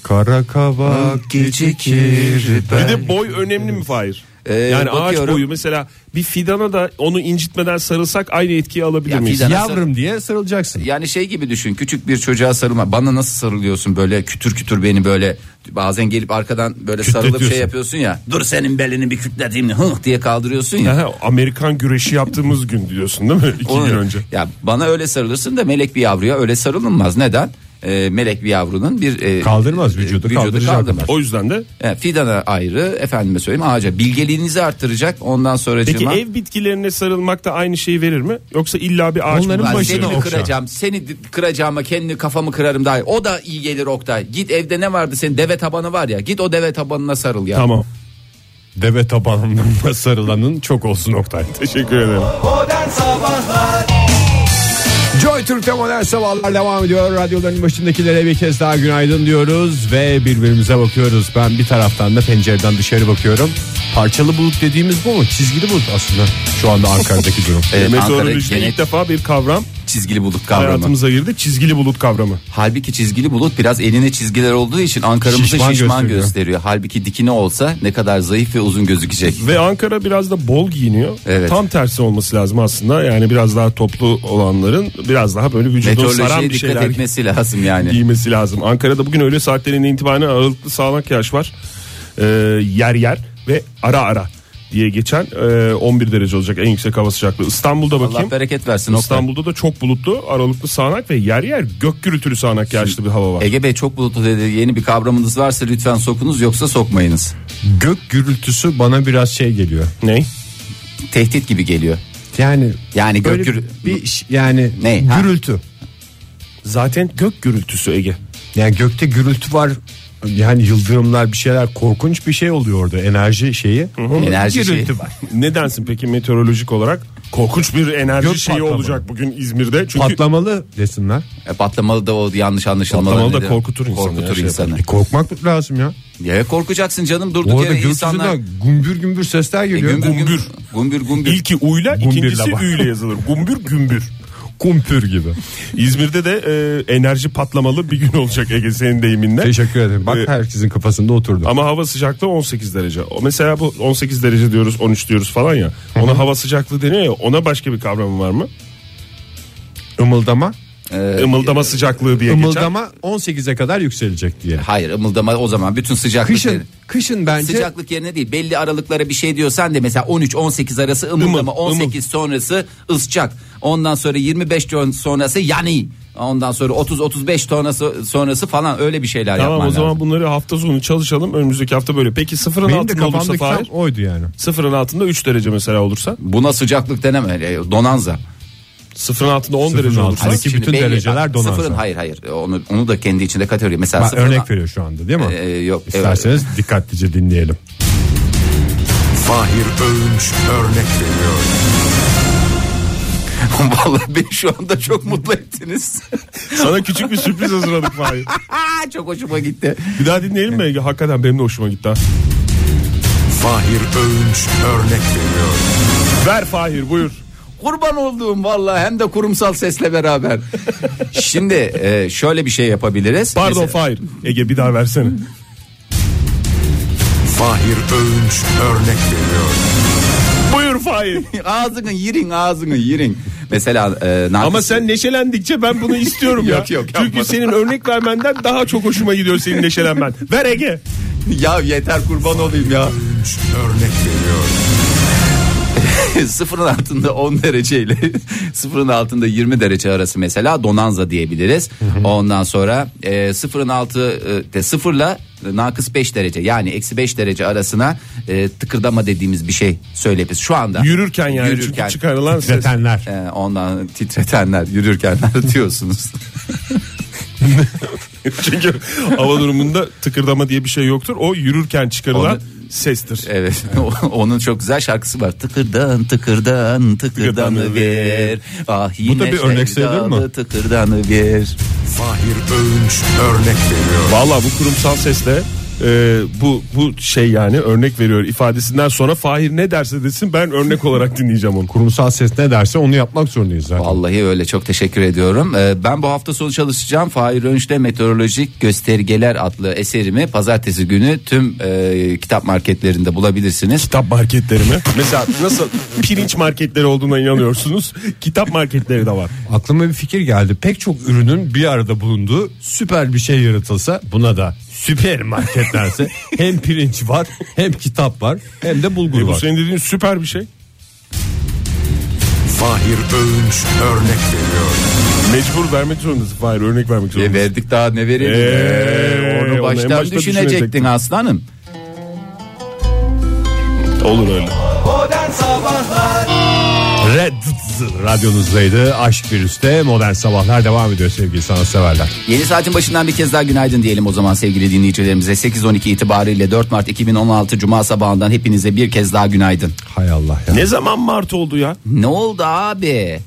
C: Kara kavak gecikir.
E: Bir de boy önemli mi Fahir?
D: Ee,
E: yani ağaç
D: bakıyorum.
E: boyu mesela bir fidana da onu incitmeden sarılsak aynı etkiyi alabilir
D: Ya
E: miyiz?
D: fidan-
C: Yavrum diye sarılacaksın.
D: Yani şey gibi düşün küçük bir çocuğa sarılma. Bana nasıl sarılıyorsun böyle kütür kütür beni böyle bazen gelip arkadan böyle sarılıp şey
C: Kütletiyorsun.
D: yapıyorsun ya. Dur senin belini bir kütleteyim hıh diye kaldırıyorsun ya.
E: Aha, Amerikan güreşi yaptığımız gün diyorsun değil mi? İki
D: Onu-
E: gün önce.
D: Ya bana öyle sarılırsın da melek bir yavruya öyle sarılınmaz. Neden? Ee, melek bir yavrunun bir e,
C: Kaldırmaz vücudu, kaldıracak
D: kaldırmaz.
E: O yüzden de
D: E, fidana ayrı efendime söyleyeyim ağaca bilgeliğinizi arttıracak ondan sonra
E: Peki ev bitkilerine sarılmak da aynı şeyi verir mi? Yoksa illa bir ağaç
C: Onların
E: mı?
D: ben
C: başı-
D: seni
C: başına
D: de
C: okşa.
D: kıracağım. Seni di- kıracağıma kendi kafamı kırarım daha iyi. O da iyi gelir Oktay. Git evde ne vardı senin deve tabanı var ya. Git o deve tabanına sarıl ya.
E: Tamam.
C: Deve tabanında sarılanın çok olsun Oktay.
E: Teşekkür ederim.
D: Ee,
H: Modern Sabahlar
I: Joy Türk'te modern sabahlar devam ediyor. Radyoların başındakilere bir kez daha günaydın diyoruz ve birbirimize bakıyoruz. Ben bir taraftan da pencereden dışarı bakıyorum. Parçalı bulut dediğimiz bu mu? Çizgili bulut aslında şu anda Ankara'daki durum.
C: E,
D: Evet,
E: Meteorolojide
D: Ankara
E: ilk defa bir kavram
D: çizgili bulut kavramı.
E: hayatımıza girdi. Çizgili bulut kavramı.
D: Halbuki çizgili bulut biraz eline çizgiler olduğu için Ankara'mızı şişman,
C: Şişman
D: gösteriyor.
C: gösteriyor.
D: Halbuki dikine olsa ne kadar zayıf ve uzun gözükecek.
E: Ve Ankara biraz da bol giyiniyor.
D: Evet.
E: Tam tersi olması lazım aslında. Yani biraz daha toplu olanların biraz daha böyle vücudu saran
D: Meteorolojiye
E: bir
D: dikkat
E: şeyler
D: etmesi lazım yani.
E: giymesi lazım. Ankara'da bugün öğle saatlerinden itibaren aralıklı sağanak yağış var. Ee, yer yer ve ara ara diye geçen e, 11 derece olacak en yüksek hava sıcaklığı. İstanbul'da bakayım.
D: Allah bereket versin. Oktay.
E: İstanbul'da da çok bulutlu, aralıklı sağanak ve yer yer gök gürültülü sağanak yağışlı bir hava var.
D: Ege Bey çok bulutlu dedi. Yeni bir kavramınız varsa lütfen sokunuz yoksa sokmayınız.
C: Gök gürültüsü bana biraz şey geliyor.
E: Ne?
D: Tehdit gibi geliyor.
C: Yani
D: Yani gök
C: böyle
D: gürü-
C: bir iş- yani
D: Ne? Ha?
C: gürültü.
E: Zaten gök gürültüsü Ege.
C: Yani gökte gürültü var. Yani yıldırımlar bir şeyler korkunç bir şey oluyor orada enerji şeyi.
D: Enerji şeyi.
C: gürültü var.
E: Ne dersin peki meteorolojik olarak? Korkunç bir enerji
C: Gök
E: şeyi
C: patlama.
E: olacak bugün İzmir'de. Çünkü
C: Patlamalı desinler.
D: E, patlamalı da o yanlış anlaşılmalar.
E: Patlamalı da
D: nedeni.
E: korkutur insanı ya,
D: Korkutur
E: şey
D: insanı.
C: E korkmak lazım ya.
D: Ya korkacaksın canım durduk
C: Bu arada
D: yere
C: gürültüsünden
D: insanlar.
C: gümbür gümbür sesler
D: E,
C: geliyor.
D: gümbür.
E: Gümbür.
D: Gümbür gümbür.
E: ilki uyla
C: Gumbirle
E: ikincisi
C: bak.
E: üyle yazılır. Gumbür gümbür.
C: Kumpür gibi.
E: İzmir'de de e, enerji patlamalı bir gün olacak Ege senin deyiminle.
C: Teşekkür ederim. Bak
E: E,
C: herkesin kafasında oturdu.
E: Ama hava sıcaklığı 18 derece. O mesela bu 18 derece diyoruz, 13 diyoruz falan ya. Ona hava sıcaklığı deniyor ya. Ona başka bir kavramı var mı?
C: Imıldama. Ee,
E: Imıldama sıcaklığı diye geçer.
C: Imıldama 18'e kadar yükselecek diye.
D: Hayır ımıldama o zaman bütün sıcaklık.
C: Kışın kışın bence
D: Sıcaklık yerine değil belli aralıklara bir şey diyorsan de mesela 13-18 arası
E: Imıl,
D: ımıldama
E: ımıl.
D: 18 sonrası ısçak ondan sonra 25 ton sonrası yani ondan sonra 30-35 sonrası, sonrası falan öyle bir şeyler
E: Tamam
D: yapman
E: o zaman
D: lazım.
E: bunları hafta sonu çalışalım. Önümüzdeki hafta böyle. Peki sıfırın
C: benim de
E: altında olursa
C: kafamdaki tam
E: Fahir?
C: oydu yani.
E: Sıfırın altında 3 derece mesela olursa.
D: Buna sıcaklık deneme e, donanza. Hani
E: Sıfırın altında 10
C: Sıfırın
E: derece olursa.
C: altında. Buradaki
D: Şimdi
C: bütün dereceler
D: bak,
C: donanza.
D: Sıfırın hayır hayır onu, onu da kendi içinde kategori. Mesela
C: Ben
D: sıfırın-
C: örnek veriyor şu anda değil mi?
D: Ee, yok, evet.
C: İsterseniz dikkatlice dinleyelim.
G: Fahir Öğünç örnek veriyor.
D: Vallahi beni şu anda çok mutlu ettiniz.
E: Sana küçük bir sürpriz hazırladık Fahir.
D: çok hoşuma gitti.
E: Bir daha dinleyelim mi? Ege? Hakikaten benim de hoşuma gitti. ha.
G: Fahir Öğünç örnek veriyor.
E: Ver Fahir buyur.
D: Kurban olduğum vallahi hem de kurumsal sesle beraber. Şimdi e, şöyle bir şey yapabiliriz.
E: Pardon
D: Mesela-
E: Fahir. Ege bir daha versene.
G: Fahir Öğünç örnek veriyor.
E: buyur Fahir.
D: ağzını yirin ağzını yirin. Mesela e, Nafiz-
E: Ama sen neşelendikçe ben bunu istiyorum ya.
D: Yok, yok, yapmadım.
E: Çünkü senin örnek vermenden daha çok hoşuma gidiyor senin neşelenmen. Ver Ege.
D: ya yeter kurban olayım ya.
G: Öğünç örnek veriyor.
D: sıfırın altında 10 dereceyle sıfırın altında 20 derece arası mesela donanza diyebiliriz. Ondan sonra e, sıfırın altı e, de sıfırla e, nakıs 5 derece yani eksi 5 derece arasına e, tıkırdama dediğimiz bir şey söyleyiz şu anda.
E: Yürürken yani
D: Yürürken.
E: çünkü çıkarılan ses.
C: Titretenler.
D: E, ondan titretenler yürürkenler diyorsunuz.
E: Çünkü hava durumunda tıkırdama diye bir şey yoktur. O yürürken çıkarılan sestir.
D: Evet. o- Onun çok güzel şarkısı var. Tıkırdan tıkırdan tıkırdanı
E: Tıkırdanı
D: ver. Ah yine
C: da bir örnek sayılır mı?
D: sevdalı Tıkırdanı ver.
G: Fahir Öğünç örnek veriyor.
E: Valla bu kurumsal sesle e, bu bu şey yani örnek veriyor ifadesinden sonra Fahir ne derse desin ben örnek olarak dinleyeceğim onu.
C: Kurumsal ses ne derse onu yapmak zorundayız zaten.
D: Vallahi öyle çok teşekkür ediyorum. Ee, ben bu hafta sonu çalışacağım. Fahir Önç'te Meteorolojik Göstergeler adlı eserimi pazartesi günü tüm e, kitap marketlerinde bulabilirsiniz.
E: Kitap marketleri mi? Mesela nasıl pirinç marketleri olduğuna inanıyorsunuz? Kitap marketleri de var.
C: Aklıma bir fikir geldi. Pek çok ürünün bir arada bulunduğu süper bir şey yaratılsa buna da süpermarket dense hem pirinç var hem kitap var hem de bulgur
E: E, bu
C: var.
E: senin dediğin süper bir şey.
G: Fahir Öğünç örnek veriyor.
E: Mecbur vermek zorundasın Fahir örnek vermek
D: E,
E: zorundasın.
D: verdik daha ne verelim?
E: Ee,
D: Ee,
E: onu en
D: onu baştan,
E: başta
D: düşünecektin
E: düşünecektim.
D: aslanım.
E: Olur öyle.
H: Modern Sabahlar
C: Red Zz radyonuzdaydı. Aşk virüste modern sabahlar devam ediyor sevgili sanatseverler.
D: Yeni saatin başından bir kez daha günaydın diyelim o zaman sevgili dinleyicilerimize. 8-12 itibariyle 4 Mart 2016 Cuma sabahından hepinize bir kez daha günaydın.
C: Hay Allah ya.
E: Ne zaman Mart oldu ya?
D: Ne oldu abi?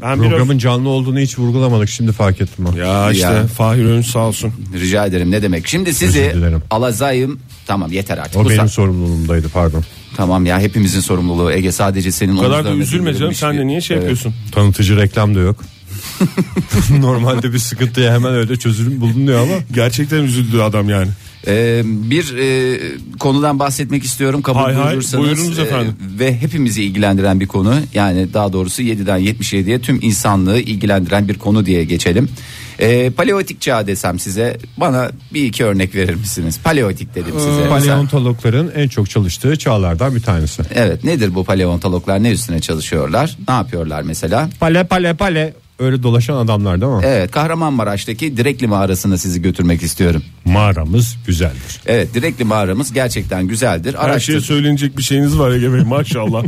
E: Ben
C: Programın canlı olduğunu hiç vurgulamadık şimdi fark ettim. ben.
E: Ya işte
D: Ya.
E: Fahir Önç sağ olsun.
D: Rica ederim ne demek. Şimdi sizi
C: Özür dilerim.
D: alazayım. Tamam yeter artık.
C: O
D: Bu
C: benim
D: sa-
C: sorumluluğumdaydı pardon.
D: Tamam ya hepimizin sorumluluğu Ege sadece senin
E: Bu kadar da
D: omuzlarına
E: üzülme canım
D: bindirilmiş
E: sen
D: bir-
E: de niye şey
D: Evet.
E: yapıyorsun?
C: Tanıtıcı reklam da yok. Normalde bir sıkıntıya hemen öyle çözülüm bulunuyor ama
E: Gerçekten üzüldü adam yani.
D: Ee, bir e, konudan bahsetmek istiyorum kabul
E: Hay hay,
D: buyurursanız.
E: buyurunuz
D: Ee,
E: efendim.
D: ve hepimizi ilgilendiren bir konu yani daha doğrusu 7'den 77'ye tüm insanlığı ilgilendiren bir konu diye geçelim. Ee, paleotik çağ desem size bana bir iki örnek verir misiniz? Paleotik dedim
E: Ee,
D: size. Mesela-
C: paleontologların en çok çalıştığı çağlardan bir tanesi.
D: Evet nedir bu paleontologlar ne üstüne çalışıyorlar ne yapıyorlar mesela?
C: Pale pale pale öyle dolaşan adamlar değil mi?
D: Evet Kahramanmaraş'taki Direkli mağarasına sizi götürmek istiyorum.
C: Mağaramız güzeldir.
D: Evet Direkli mağaramız gerçekten güzeldir.
E: Her şey
D: Araştır-
E: şeye söylenecek bir şeyiniz var Ege Bey maşallah.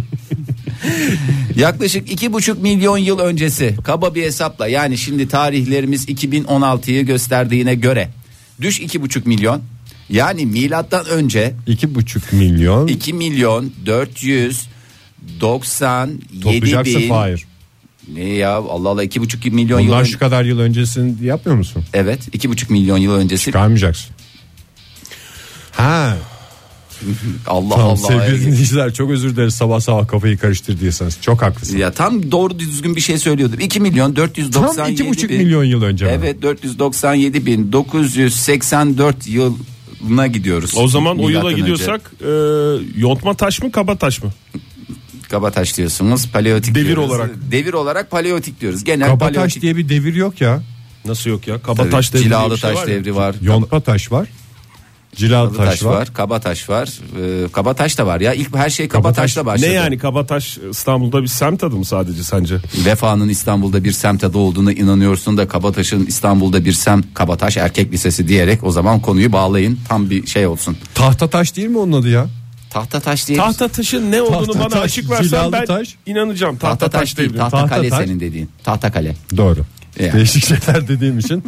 D: Yaklaşık iki buçuk milyon yıl öncesi kaba bir hesapla yani şimdi tarihlerimiz 2016'yı gösterdiğine göre düş iki buçuk milyon yani milattan önce
C: İki buçuk milyon
D: 2 milyon 497
C: toplayacaksa
D: bin
C: Fahir.
D: ne ya Allah Allah iki buçuk milyon yıl
C: Bunlar
D: önce
C: şu kadar yıl öncesini yapmıyor musun?
D: evet iki buçuk milyon yıl öncesi
C: Çıkarmayacaksın. Ha,
D: Allah
C: tamam
D: Allah
C: sevgili dinleyiciler çok özür dileriz sabah sabah kafayı karıştırdıysanız. Çok haklısın.
D: ya tam doğru düzgün bir şey söylüyordum 2 milyon 497
C: Tam iki buçuk
D: bin-
C: milyon yıl önce mi?
D: Evet 497 bin 984 yılına gidiyoruz.
E: o zaman o yıla
D: Milattan önce.
E: gidiyorsak e, yontma taş mı kaba taş mı?
D: Kabataş diyorsunuz paleotik
E: Devir
D: diyoruz.
E: olarak.
D: Devir olarak paleotik diyoruz. Genel
C: Kabataş
D: paleotik.
C: diye bir devir yok ya.
E: Nasıl yok ya? Kaba
D: Tabii,
E: taş devri. diye bir
D: Cilalı
E: şey
D: taş
E: var ya.
D: devri var.
C: Yontma taş var. Cilalı
D: Kabataş
C: taş
D: var.
C: var.
D: Kabataş var. Ee, kabataş da var ya. İlk her şey
C: Kabataş-
D: Kabataş'la başladı.
E: Ne yani kaba taş İstanbul'da bir semt adı mı sadece sence?
D: Vefa'nın İstanbul'da bir semte doğduğuna inanıyorsun da Kabataş'ın İstanbul'da bir sem Kabataş Erkek Lisesi diyerek o zaman konuyu bağlayın. Tam bir şey olsun.
C: Tahta taş değil mi onun adı ya?
D: Tahta taş diye.
E: Tahta taşın ne olduğunu
C: Tahta
E: bana
C: taş,
E: açık versen
C: cilalı
E: ben
C: taş.
E: inanacağım. Tahta,
D: tahta taş değil. Tahta,
C: Tahta
D: kale
C: taş.
D: senin dediğin. Tahta kale.
C: Doğru.
D: Yani.
C: Değişik şeyler dediğim için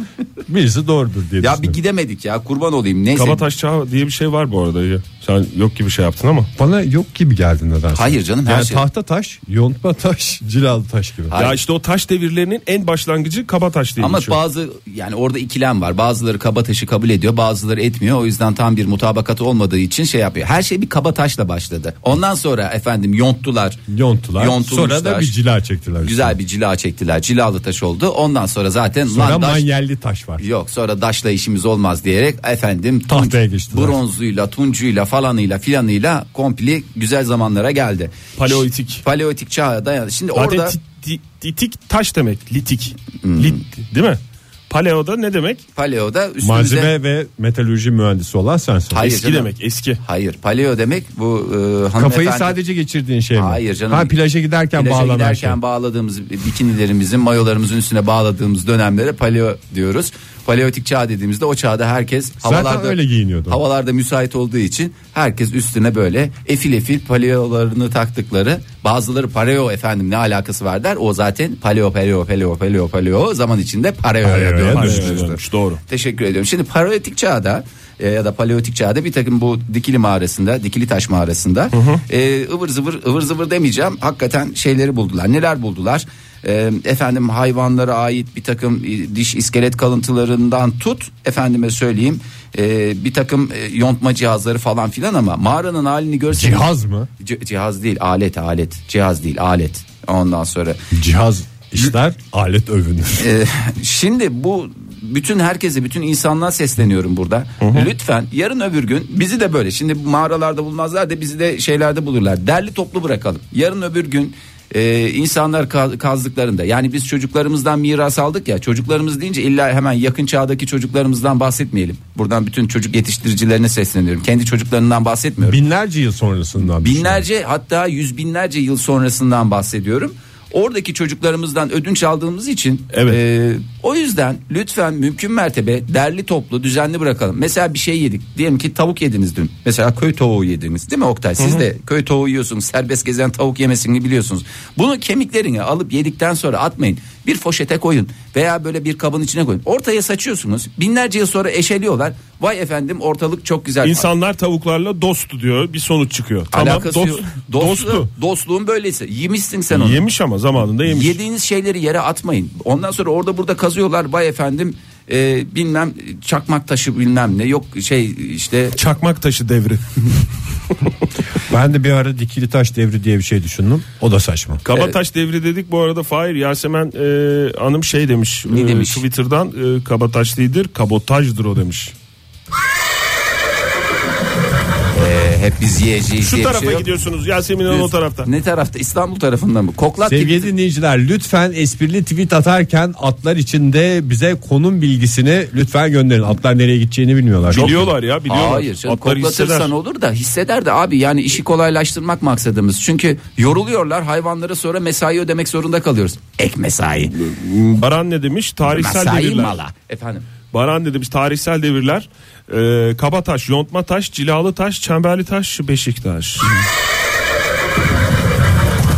C: birisi doğrudur diye
D: Ya bir
C: düşünüyorum.
D: gidemedik ya kurban olayım. Neyse.
E: Kabataş Çağı diye bir şey var bu arada. ya. Sen yok gibi şey yaptın ama.
C: Bana yok gibi geldi nedense.
D: Hayır canım, her
C: yani
D: şey-
C: tahta taş, yontma taş, cilalı taş gibi.
D: Hayır.
E: Ya işte o taş devirlerinin en başlangıcı Kabataş diye
D: Ama
E: geçiyor.
D: bazı yani orada ikilem var. Bazıları kaba taşı kabul ediyor, bazıları etmiyor. O yüzden tam bir mutabakatı olmadığı için şey yapıyor. Her şey bir kaba taşla başladı. Ondan sonra efendim yonttular.
C: Yontular.
D: Yontulmuş
C: Sonra da
D: taş.
C: bir cila çektiler. üstüne.
D: Güzel bir cila çektiler. Cilalı taş oldu. Ondan sonra zaten
C: Sonra
D: lan daş-
C: manyelli taş var.
D: Yok sonra daşla işimiz olmaz diyerek efendim tunç-
C: Tahtaya geçtiler.
D: bronzuyla tuncuyla falanıyla filanıyla komple güzel zamanlara geldi.
E: Paleolitik.
D: Ş- Paleolitik çağa dayandı. Şimdi
E: Zaten
D: orada
E: ti- ti- titik taş demek. Litik.
D: Hmm.
E: Lit, değil mi? Paleo'da ne demek?
D: paleoda üstümüze
C: Malzeme ve metalürji mühendisi olan sensin.
D: Hayır
E: eski
D: canım.
E: demek eski.
D: Hayır paleo demek bu e, hanımefendi-
C: Kafayı sadece geçirdiğin şey mi?
D: Hayır canım.
C: Ha plaja giderken
D: Plaja
C: bağlanan
D: giderken
C: şey.
D: bağladığımız bikinilerimizin, mayolarımızın üstüne bağladığımız dönemlere paleo diyoruz. Paleotik çağ dediğimizde o çağda herkes
C: Zaten öyle giyiniyordu.
D: Havalarda müsait olduğu için herkes üstüne böyle efil efil paleolarını taktıkları bazıları paleo efendim ne alakası var der. O zaten paleo paleo paleo paleo paleo zaman içinde paleo
C: Paleoya
D: diyor.
C: dönüşmüştür.
E: Dönmüş, doğru.
D: Teşekkür ediyorum. Şimdi paleolitik çağda e, ya da paleolitik çağda bir takım bu dikili mağarasında, dikili taş mağarasında e, ıvır zıvır ıvır zıvır demeyeceğim. Hakikaten şeyleri buldular. Neler buldular? E, efendim hayvanlara ait bir takım e, diş iskelet kalıntılarından tut efendime söyleyeyim. e, bir takım e, yontma cihazları falan filan ama mağaranın halini görseniz
C: Cihaz mı?
D: C- cihaz değil, alet, alet. Cihaz değil, alet. Ondan sonra
C: Cihaz işler, alet övünür.
D: ee, şimdi bu bütün herkese bütün insanlığa sesleniyorum burada. Lütfen yarın öbür gün bizi de böyle şimdi bu mağaralarda bulmazlar da bizi de şeylerde bulurlar. Derli toplu bırakalım. Yarın öbür gün e, insanlar ka- kazdıklarında yani biz çocuklarımızdan miras aldık ya çocuklarımız deyince illa hemen yakın çağdaki çocuklarımızdan bahsetmeyelim. Buradan bütün çocuk yetiştiricilerine sesleniyorum. Kendi çocuklarından bahsetmiyorum.
C: Binlerce yıl sonrasından.
D: Binlerce hatta yüz binlerce yıl sonrasından bahsediyorum. Oradaki çocuklarımızdan ödünç aldığımız için
E: Evet.
D: e, o yüzden lütfen mümkün mertebe derli toplu düzenli bırakalım. Mesela bir şey yedik diyelim ki tavuk yediniz dün. Mesela köy tavuğu yediniz değil mi Oktay? Siz de köy tavuğu yiyorsunuz serbest gezen tavuk yemesini biliyorsunuz. Bunu kemiklerini alıp yedikten sonra atmayın. Bir foşete koyun veya böyle bir kabın içine koyun. Ortaya saçıyorsunuz binlerce yıl sonra eşeliyorlar. Vay efendim ortalık çok güzel.
E: İnsanlar tavuklarla dostu diyor. Bir sonuç çıkıyor. Tamam
D: Alakası
E: dost,
D: yok.
E: dostu.
D: Dostluğun böylesi. Yemişsin sen onu.
E: Yemiş ama zamanında yemiş.
D: Yediğiniz şeyleri yere atmayın. Ondan sonra orada burada kazıyorlar. Bay efendim e, bilmem çakmak taşı bilmem ne. Yok şey işte
E: Çakmak taşı devri.
C: Ben de bir ara dikili taş devri diye bir şey düşündüm. O da saçma.
E: Kabataş devri dedik bu arada Fahir Yasemen e, hanım şey demiş,
D: Ne
E: e,
D: demiş?
E: Twitter'dan e, kabataş değildir kabotajdır o demiş.
D: e, hep biz yiyeceğiz
E: Şu
D: diye bir
E: tarafa
D: şey yok.
E: gidiyorsunuz Yasemin Hanım o tarafta.
D: Ne tarafta? İstanbul tarafından mı? Koklat
C: Sevgili
D: gibi.
C: dinleyiciler lütfen esprili tweet atarken atlar içinde bize konum bilgisini lütfen gönderin. Atlar nereye gideceğini bilmiyorlar.
E: Biliyorlar ya biliyorlar.
D: Hayır canım,
E: Atları
D: koklatırsan
E: hisseder.
D: olur da hisseder de abi yani işi kolaylaştırmak maksadımız. Çünkü yoruluyorlar hayvanlara sonra mesai ödemek zorunda kalıyoruz. Ek mesai.
E: Baran ne demiş? Tarihsel
D: Mesai
E: devirler.
D: mala. Efendim.
E: Baran ne demiş? Tarihsel devirler. E, kabataş, yontma taş, cilalı taş, çemberli taş, beşiktaş.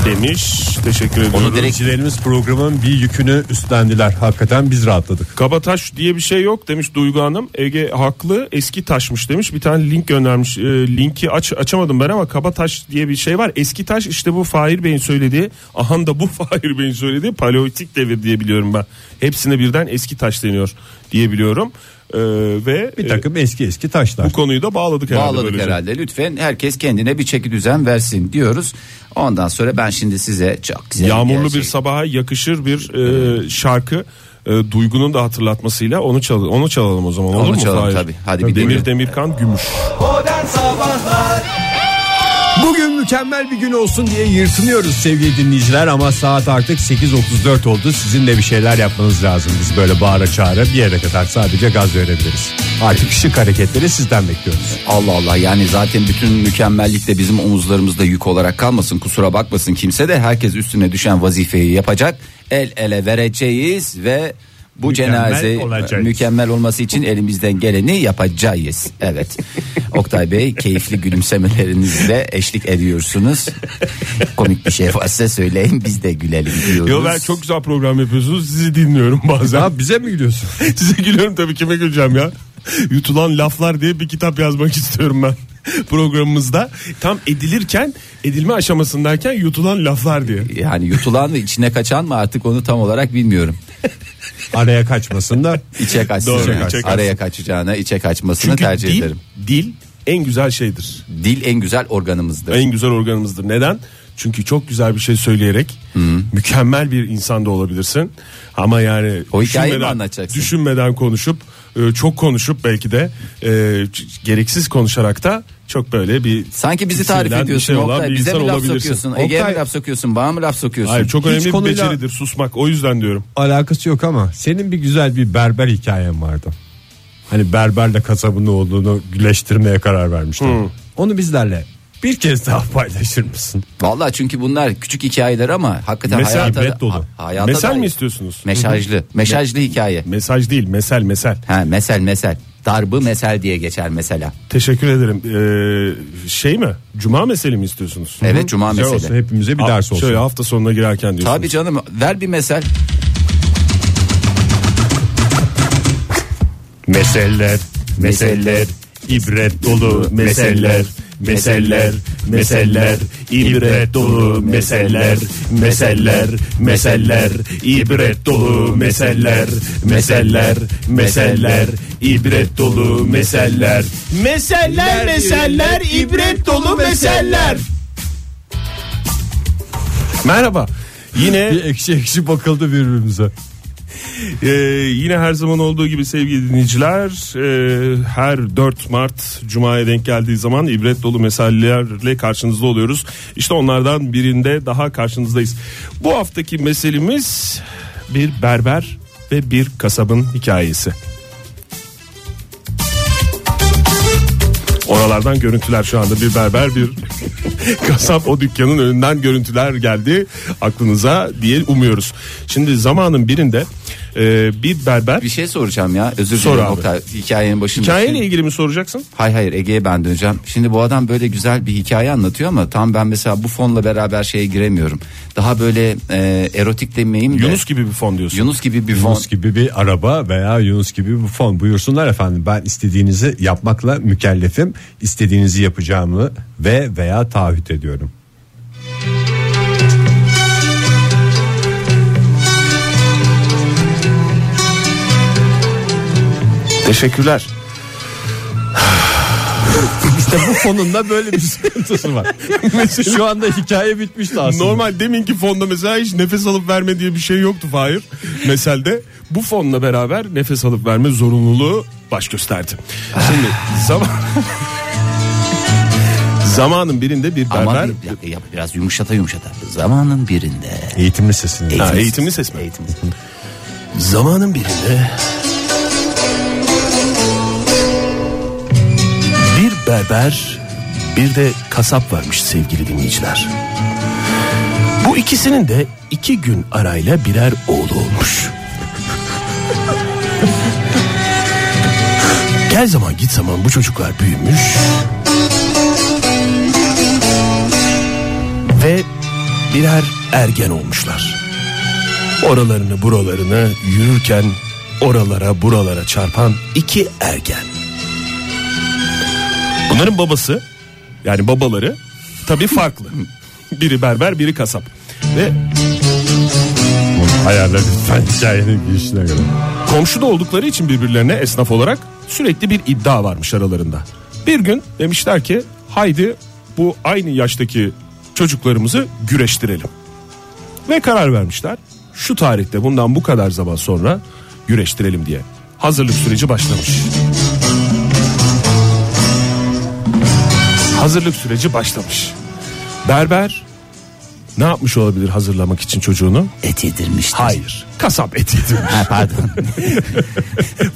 E: demiş. Teşekkür ediyorum.
D: Onu direkt
C: Dinleyicilerimiz programın bir yükünü üstlendiler. Hakikaten biz rahatladık.
E: Kabataş diye bir şey yok demiş Duygu Hanım. Ege haklı eski taşmış demiş. Bir tane link göndermiş. Ee, linki aç, açamadım ben ama Kabataş diye bir şey var. Eski taş işte bu Fahir Bey'in söylediği. Ahan da bu Fahir Bey'in söylediği paleolitik devir diye biliyorum ben. Hepsine birden eski taş deniyor diye biliyorum. Ee, ve
C: Bir
E: e,
C: takım eski eski taşlar.
E: bu konuyu da bağladık herhalde. şey.
D: Bağladık
E: böylece.
D: herhalde. Lütfen herkes kendine bir çeki düzen versin diyoruz. Ondan sonra ben şimdi size çok güzel
E: Yağmurlu
D: şey-
E: bir sabaha yakışır bir e, şarkı. E, Duygu'nun da hatırlatmasıyla onu çal onu çalalım o zaman. olur mu
D: çalalım
E: Fahir?
D: tabii. Hadi bir dinle.
E: Demir Demirkan Gümüş.
H: Modern Sabahlar
C: Bugün mükemmel bir gün olsun diye yırtınıyoruz sevgili dinleyiciler ama saat artık 8.34 oldu. Sizin de bir şeyler yapmanız lazım. Biz böyle bağıra çağıra bir yere kadar sadece gaz verebiliriz. Artık şık hareketleri sizden bekliyoruz.
D: Allah Allah yani zaten bütün mükemmellik de bizim omuzlarımızda yük olarak kalmasın. Kusura bakmasın kimse de herkes üstüne düşen vazifeyi yapacak. El ele vereceğiz ve Bu
C: Mükemmel
D: cenaze
C: olacağız.
D: mükemmel olması için elimizden geleni yapacağız. Evet. Oktay Bey keyifli gülümsemelerinizle eşlik ediyorsunuz. Komik bir şey varsa söyleyin biz de gülelim diyoruz.
E: Yo ben çok güzel program yapıyorsunuz. Sizi dinliyorum bazen.
C: Ha, bize mi gülüyorsun?
E: Size gülüyorum tabii kime güleceğim ya. Yutulan laflar diye bir kitap yazmak istiyorum ben programımızda. Tam edilirken, edilme aşamasındayken yutulan laflar diye.
D: yani yutulan ve içine kaçan mı artık onu tam olarak bilmiyorum.
C: Araya kaçmasın da.
D: İçe kaçsın.
E: Doğru,
D: yani.
E: içe kaçsın.
D: Araya kaçacağına içe kaçmasını
E: Çünkü
D: tercih
E: dil,
D: ederim.
E: dil en güzel şeydir.
D: Dil en güzel organımızdır.
E: En güzel organımızdır. Neden? Çünkü çok güzel bir şey söyleyerek mükemmel bir insan da olabilirsin. Ama yani
D: O hikayeyi mi anlatacaksın?
E: düşünmeden konuşup e, çok konuşup belki de e, ç- gereksiz konuşarak da çok böyle bir
D: Sanki bizi tarif
E: tiksinilen bir
D: ediyorsun
E: şey olan
D: Oktay.
E: bir
D: Bize
E: insan
D: mi laf
E: olabilirsin.
D: sokuyorsun? Ege'ye mi
C: Oktay-
D: laf sokuyorsun? Bana mı laf sokuyorsun?
E: Hayır çok önemli bir
C: konuyla-
E: beceridir susmak. O yüzden diyorum.
C: Alakası yok ama senin bir güzel bir berber hikayen vardı. Hani berberle kasabın olduğunu güleştirmeye karar vermiştin. Onu bizlerle bir kez daha paylaşır mısın?
D: Vallahi çünkü bunlar küçük hikayeler ama hakikaten
E: Mesel,
D: hayata,
C: ibret dolu.
D: ha- hayata
E: mesel
D: dair.
E: mi istiyorsunuz?
D: Meşajlı. Meşajlı hikaye.
E: Mesaj değil, mesel mesel.
D: Ha mesel mesel. Darbı mesel diye geçer mesela.
E: Teşekkür ederim. Ee, şey mi? Cuma meseli mi istiyorsunuz?
D: Evet cuma
C: Güzel
D: meseli.
C: olsun hepimize bir
E: Ha-
C: ders olsun.
E: Şöyle hafta sonuna girerken diyorsunuz.
D: Tabii canım ver bir mesel.
C: Meseller,
D: meseller,
C: ibret dolu
E: meseller, meseller, meseller, ibret dolu meseller, meseller, meseller, ibret dolu meseller, meseller, meseller, ibret dolu meseller. Meseller, meseller, ibret dolu meseller. Merhaba. Yine
C: Bir ekşi ekşi bakıldı birbirimize.
E: ee, yine her zaman olduğu gibi sevgili dinleyiciler e, her 4 Mart Cuma'ya denk geldiği zaman ibret dolu meselelerle karşınızda oluyoruz. İşte onlardan birinde daha karşınızdayız. Bu haftaki meselemiz bir berber ve bir kasabın hikayesi. Oralardan görüntüler şu anda bir berber bir kasap o dükkanın önünden görüntüler geldi aklınıza diye umuyoruz. Şimdi zamanın birinde e, bir berber
D: Bir şey soracağım ya. Özür
E: Sor
D: dilerim
E: abi.
D: Oktay. Hikayenin başında.
E: hikayeyle ilgili mi soracaksın?
D: Hayır hayır Ege'ye ben döneceğim. Şimdi bu adam böyle güzel bir hikaye anlatıyor ama tam ben mesela bu fonla beraber şeye giremiyorum. Daha böyle e, erotik demeyeyim de.
E: Yunus gibi bir fon diyorsun.
D: Yunus gibi bir fon.
C: Yunus gibi bir araba veya Yunus gibi bir fon buyursunlar efendim. Ben istediğinizi yapmakla mükellefim. İstediğinizi yapacağımı ve veya taahhüt ediyorum.
E: Teşekkürler.
C: İşte bu fonun da böyle bir sıkıntısı var. Şu anda hikaye bitmişti aslında.
E: Normal deminki fonda mesela hiç nefes alıp verme diye bir şey yoktu Fahir. Meselde bu fonla beraber nefes alıp verme zorunluluğu baş gösterdi. Şimdi zaman... Zamanın birinde bir berber...
D: Aman bir dakika, yap, biraz yumuşata yumuşata. Zamanın birinde.
C: Eğitimli sesini.
E: Ha, eğitimli ses mi?
D: Eğitim.
E: Zamanın birinde bir berber bir de kasap varmış sevgili dinleyiciler. Bu ikisinin de iki gün arayla birer oğlu olmuş. Gel zaman git zaman bu çocuklar büyümüş. Ve birer ergen olmuşlar. Oralarını buralarını yürürken oralara buralara çarpan iki ergen. Bunların babası yani babaları tabii farklı. biri berber biri kasap. Ve
C: Ayarla lütfen hikayenin girişine göre.
E: komşu da oldukları için birbirlerine esnaf olarak sürekli bir iddia varmış aralarında. Bir gün demişler ki haydi bu aynı yaştaki çocuklarımızı güreştirelim. Ve karar vermişler şu tarihte bundan bu kadar zaman sonra güreştirelim diye. Hazırlık süreci başlamış. Hazırlık süreci başlamış. Berber ne yapmış olabilir hazırlamak için çocuğunu?
D: Et yedirmiştir.
E: Hayır. Kasap eti yedirmiş.
D: Ha, pardon.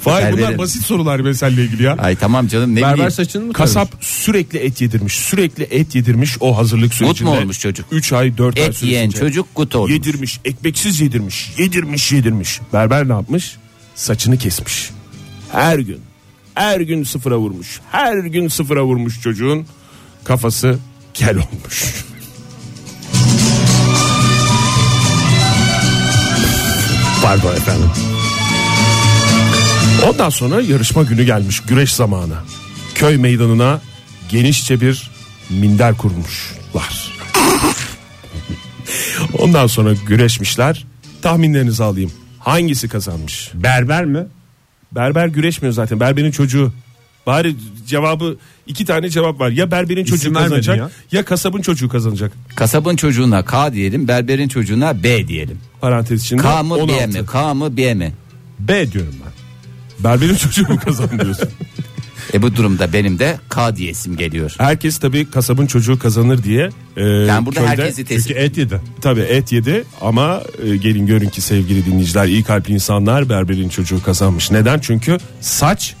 E: Fahir bunlar
D: Berberim.
E: basit sorular meselle ilgili ya.
D: Ay tamam canım ne
C: Berber
D: bileyim.
C: saçını mı
E: Kasap sürekli et yedirmiş. Sürekli et yedirmiş o hazırlık
D: mu
E: sürecinde.
D: olmuş çocuk?
E: 3 ay 4 ay
D: Et yiyen
E: süresince.
D: çocuk kut olmuş.
E: Yedirmiş ekmeksiz yedirmiş yedirmiş yedirmiş. Berber ne yapmış? saçını kesmiş. Her gün. Her gün sıfıra vurmuş. Her gün sıfıra vurmuş çocuğun kafası kel olmuş. Pardon efendim. Ondan sonra yarışma günü gelmiş güreş zamanı. Köy meydanına genişçe bir minder kurmuşlar. Ondan sonra güreşmişler. Tahminlerinizi alayım. Hangisi kazanmış?
C: Berber mi?
E: Berber güreşmiyor zaten. Berberin çocuğu. Bari cevabı iki tane cevap var. Ya berberin çocuğu
C: İsim vermedin
E: kazanacak ya.
C: ya.
E: kasabın çocuğu kazanacak.
D: Kasabın çocuğuna K diyelim, berberin çocuğuna B diyelim.
E: Parantez içinde.
D: K mı
E: 16.
D: B mi? K mı B mi?
C: B diyorum ben.
E: Berberin çocuğu mu kazanıyorsun?
D: E bu durumda benim de K diyesim geliyor.
E: Herkes tabii kasabın çocuğu kazanır diye. e,
D: Ben burada
E: köyde-
D: herkesi teslim
C: Çünkü et yedi.
E: Tabii et yedi ama e, gelin görün ki sevgili dinleyiciler iyi kalpli insanlar berberin çocuğu kazanmış. Neden? Çünkü saç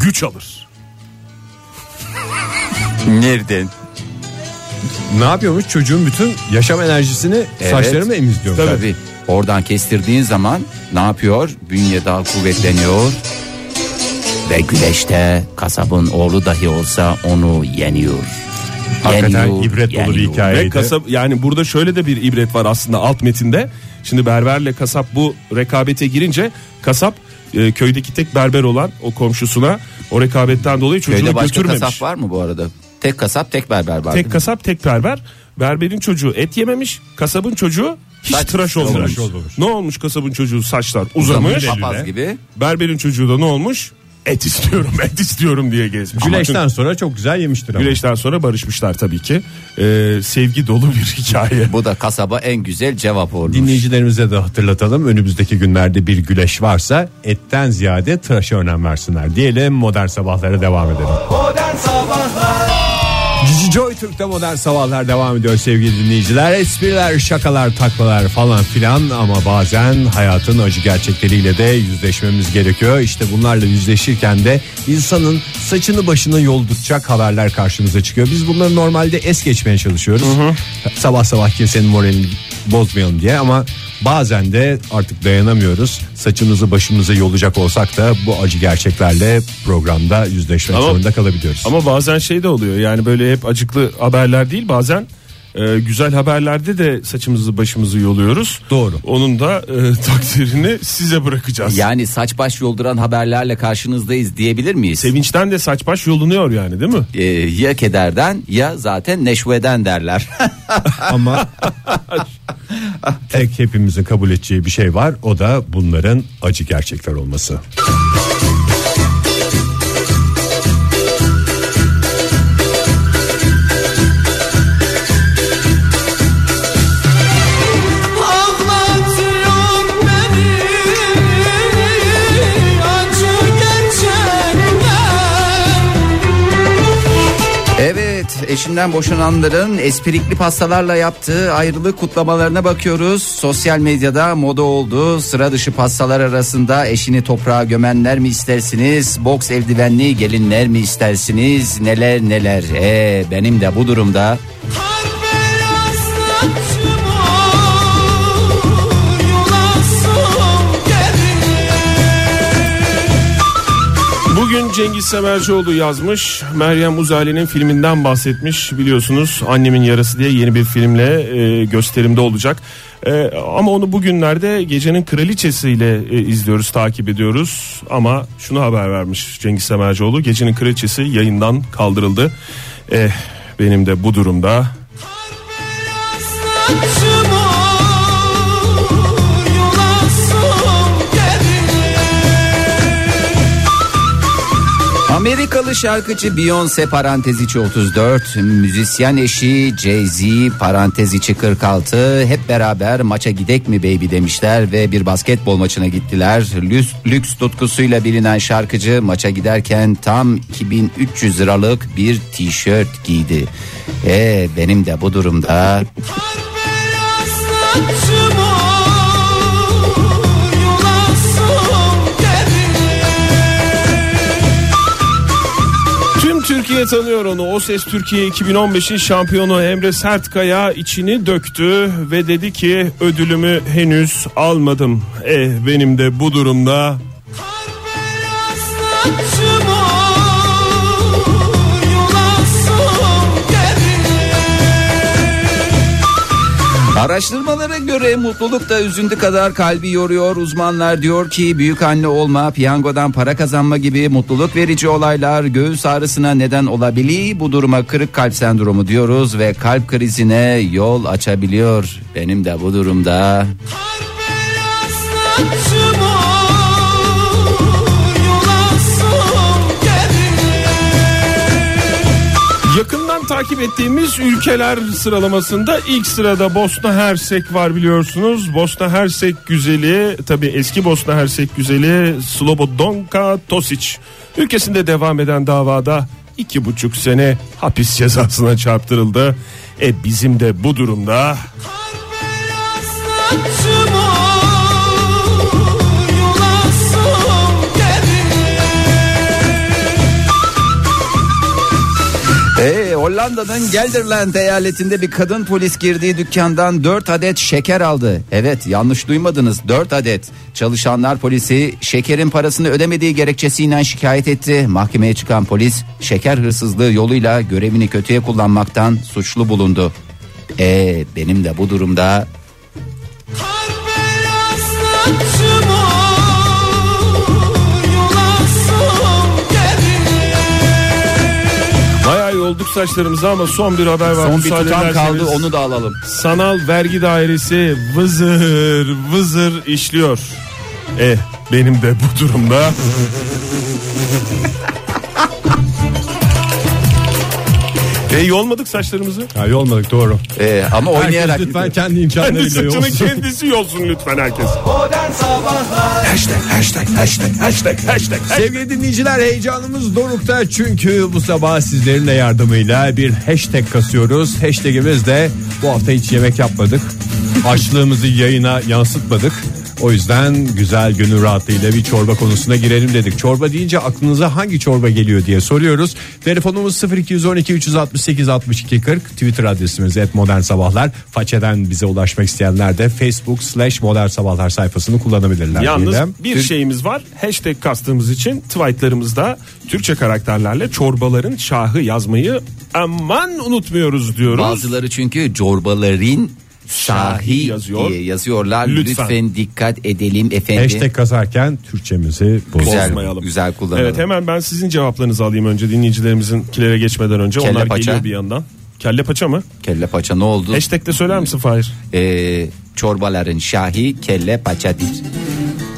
E: güç alır.
D: Nereden?
C: Ne yapıyormuş? Çocuğun bütün yaşam enerjisini saçları mı emizliyor?
D: Tabii. Oradan kestirdiğin zaman ne yapıyor? Bünye daha kuvvetleniyor. Ve güreşte kasabın oğlu dahi olsa onu yeniyor.
C: Hakikaten ibret dolu bir hikaye.
E: Ve
C: Neydi?
E: kasap yani burada şöyle de bir ibret var aslında alt metinde. Şimdi berberle kasap bu rekabete girince kasap e, köydeki tek berber olan o komşusuna o rekabetten dolayı çocuğunu
D: Köyde başka
E: götürmemiş.
D: kasap var mı bu arada? Tek kasap tek berber var.
E: Tek kasap tek berber. Berberin çocuğu et yememiş. Kasabın çocuğu hiç
D: Saç
E: tıraş olmamış.
D: olmamış.
E: Ne olmuş kasabın çocuğu saçlar uzamış.
D: Uzamış, papaz gibi.
E: Berberin çocuğu da ne olmuş? Et istiyorum et istiyorum diye gezmiş.
C: Güleşten
E: Ama
C: sonra çok güzel yemiştir ama.
E: çünkü güreşten sonra barışmışlar tabii ki. Ee, sevgi dolu bir hikaye.
D: Bu da kasaba en güzel cevap olmuş.
C: Dinleyicilerimize de hatırlatalım önümüzdeki günlerde bir güleş varsa etten ziyade tıraşa önem versinler diyelim modern sabahlara devam edelim.
H: Modern Sabahlar
C: Cici Joy Türk'te modern sabahlar devam ediyor sevgili dinleyiciler. Espriler, şakalar, taklalar falan filan ama bazen hayatın acı gerçekleriyle de yüzleşmemiz gerekiyor. İşte bunlarla yüzleşirken de insanın saçını başını yoldurtacak haberler karşımıza çıkıyor. Biz bunları normalde es geçmeye çalışıyoruz. Sabah sabah kimsenin moralini bozmayalım diye ama bazen de artık dayanamıyoruz. Saçımızı başımıza yolacak olsak da bu acı gerçeklerle programda yüzleşmek
E: Ama-
C: zorunda kalabiliyoruz.
E: Ama bazen şey de oluyor yani böyle hep acıklı haberler değil bazen e, güzel haberlerde de saçımızı başımızı yoluyoruz.
C: Doğru.
E: Onun da e, takdirini size bırakacağız.
D: Yani saç baş yolduran haberlerle karşınızdayız diyebilir miyiz?
E: Sevinçten de saç baş yolunuyor yani değil mi?
D: Ee, ya kederden ya zaten neşveden derler.
C: Ama tek hepimizin kabul edeceği bir şey var. O da bunların acı gerçekler olması.
H: Anlatıyor beni Acı gerçekten
D: Evet eşinden boşananların esprikli pastalarla yaptığı ayrılık kutlamalarına bakıyoruz. Sosyal medyada moda oldu. Sıra dışı pastalar arasında eşini toprağa gömenler mi istersiniz? Boks eldivenli gelinler mi istersiniz? Neler neler. Ee, benim de bu durumda
H: Kar beyaz saçım ol Yolasım gelir
E: Bugün Cengiz Semercioğlu yazmış. Meryem Uzaylı'nın filminden bahsetmiş. Biliyorsunuz Annemin Yarası diye yeni bir filmle e, gösterimde olacak. E, ama onu bugünlerde gecenin kraliçesiyle e, izliyoruz, takip ediyoruz. Ama şunu haber vermiş Cengiz Semercioğlu. Gecenin kraliçesi yayından kaldırıldı. Eh, benim de bu durumda
H: Saçım ol Yolasım gelir
D: Amerikalı şarkıcı Beyoncé parantez içi 34, müzisyen eşi Jay-Z parantez içi 46 hep beraber maça gidek mi baby demişler ve bir basketbol maçına gittiler. Lüks, lüks tutkusuyla bilinen şarkıcı maça giderken tam 2300 liralık bir tişört giydi. E benim de bu durumda
H: Kar beyaz saçım ol Yolasım gelir
E: Tüm Türkiye Türkiye tanıyor onu. O Ses Türkiye 2015'in şampiyonu Emre Sertkaya içini döktü ve dedi ki ödülümü henüz almadım. Eh benim de bu durumda
H: Kar beyazlattım o yol alsın geri
D: Araştırmalara göre mutluluk da üzüntü kadar kalbi yoruyor. Uzmanlar diyor ki büyük anne olma, piyangodan para kazanma gibi mutluluk verici olaylar göğüs ağrısına neden olabiliyor. Bu duruma kırık kalp sendromu diyoruz ve kalp krizine yol açabiliyor. Benim de bu durumda
H: Kar beyazlattım o yol alsın geri
E: Yakından takip ettiğimiz ülkeler sıralamasında ilk sırada Bosna Hersek var biliyorsunuz. Bosna Hersek güzeli tabi eski Bosna Hersek güzeli Slobodonka Tosic. Ülkesinde devam eden davada iki buçuk sene hapis cezasına çarptırıldı. E bizim de bu durumda
H: Kar beyazlattım o yol alsın geri
D: Ee, Hollanda'nın Gelderland eyaletinde bir kadın polis girdiği dükkandan 4 adet şeker aldı. Evet yanlış duymadınız 4 adet. Çalışanlar polisi şekerin parasını ödemediği gerekçesiyle şikayet etti. Mahkemeye çıkan polis şeker hırsızlığı yoluyla görevini kötüye kullanmaktan suçlu bulundu. Ee, benim de bu durumda
H: Kar beyazlattım o yol alsın geri
E: bayağı yolduk saçlarımıza ama son bir haber var.
D: son bir
E: Müsaade
D: tutam kaldı
E: ederseniz.
D: onu da alalım.
E: Sanal vergi dairesi vızır vızır işliyor. Eh benim de bu durumda E yolmadık saçlarımızı.
C: Ya yolmadık doğru.
D: Ee, ama oynayarak
C: lütfen kendi imkanlarıyla
E: Saçının
C: yolsun.
E: kendisi yolsun lütfen herkes.
C: Sevgili dinleyiciler heyecanımız dorukta çünkü bu sabah sizlerin de yardımıyla bir hashtag kasıyoruz. Hashtagimiz de bu hafta hiç yemek yapmadık. Açlığımızı yayına yansıtmadık. O yüzden güzel gönül rahatlığıyla bir çorba konusuna girelim dedik. Çorba deyince aklınıza hangi çorba geliyor diye soruyoruz. Telefonumuz 0212 368 62 40. Twitter adresimiz et modern sabahlar. Façeden bize ulaşmak isteyenler de Facebook slash modern sabahlar sayfasını kullanabilirler.
E: Yalnız
C: diyelim.
E: bir şeyimiz var. Hashtag kastığımız için tweetlerimizde Türkçe karakterlerle çorbaların şahı yazmayı aman unutmuyoruz diyoruz.
D: Bazıları çünkü corbaların şahi
E: yazıyor.
D: diye yazıyorlar. Lütfen.
E: Lütfen.
D: dikkat edelim efendim.
C: Hashtag kazarken Türkçemizi bozmayalım.
D: güzel,
E: bozmayalım.
D: güzel kullanalım.
E: Evet hemen ben sizin cevaplarınızı alayım önce dinleyicilerimizinkilere geçmeden önce.
D: Kelle
E: Onlar
D: paça.
E: geliyor bir yandan. Kelle paça mı?
D: Kelle paça ne oldu?
E: Hashtag'te söyler misin Fahir?
D: Ee, çorbaların şahi kelle paçadır.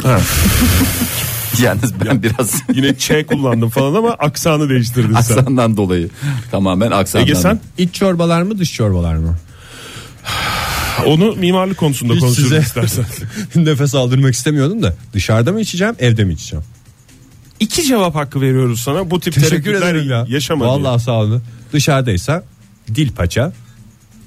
E: Ha.
D: Yalnız ben biraz
E: Yine Ç kullandım falan ama aksanı değiştirdin sen.
D: aksandan dolayı. Tamamen aksandan.
E: Ege sen
C: İç çorbalar mı dış çorbalar mı?
E: onu mimarlık konusunda
C: Hiç
E: konuşuruz
C: size-
E: istersen.
C: Nefes aldırmak istemiyordum da dışarıda mı içeceğim evde mi içeceğim?
E: İki cevap hakkı veriyoruz sana. Bu tip tereddütler yaşama diye.
C: Vallahi sağ olun. Dışarıdaysa dil paça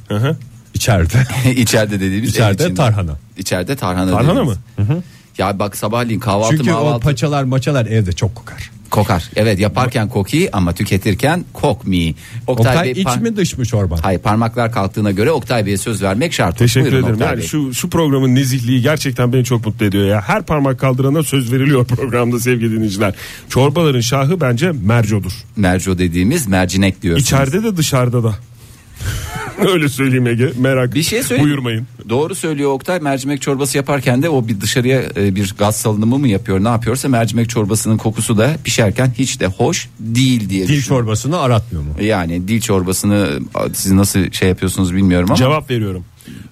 E: Hı hı.
C: içeride.
D: İçeride dediğimiz
C: İçeride
D: ev içinde.
C: tarhana.
D: İçeride tarhana.
E: Tarhana
D: dediğimiz.
E: mı?
D: Ya bak sabahleyin kahvaltı
C: Çünkü o
D: mahvaltı
C: paçalar maçalar evde çok kokar.
D: kokar. Evet yaparken koki ama tüketirken kokmi.
C: Oktay,
D: Bey
C: iç
D: par-
C: mi dış mı çorba?
D: Hayır parmaklar kalktığına göre Oktay Bey'e söz vermek şart.
E: Teşekkür
D: Buyurun
E: ederim.
D: Oktay
E: Yani
D: Bey.
E: şu şu programın nezihliği gerçekten beni çok mutlu ediyor ya. Her parmak kaldırana söz veriliyor programda sevgili dinleyiciler. Çorbaların şahı bence mercodur.
D: Merco dediğimiz mercinek diyoruz.
E: İçeride de dışarıda da. Öyle söyleyeyim Ege. Merak
D: bir şey söyle.
E: buyurmayın.
D: Doğru söylüyor Oktay. Mercimek çorbası yaparken de o bir dışarıya e, bir gaz salınımı mı yapıyor? Ne yapıyorsa mercimek çorbasının kokusu da pişerken hiç de hoş değil diye.
C: Dil
D: düşünüyorum.
C: çorbasını aratmıyor mu?
D: Yani dil çorbasını a, siz nasıl şey yapıyorsunuz bilmiyorum ama.
E: Cevap veriyorum.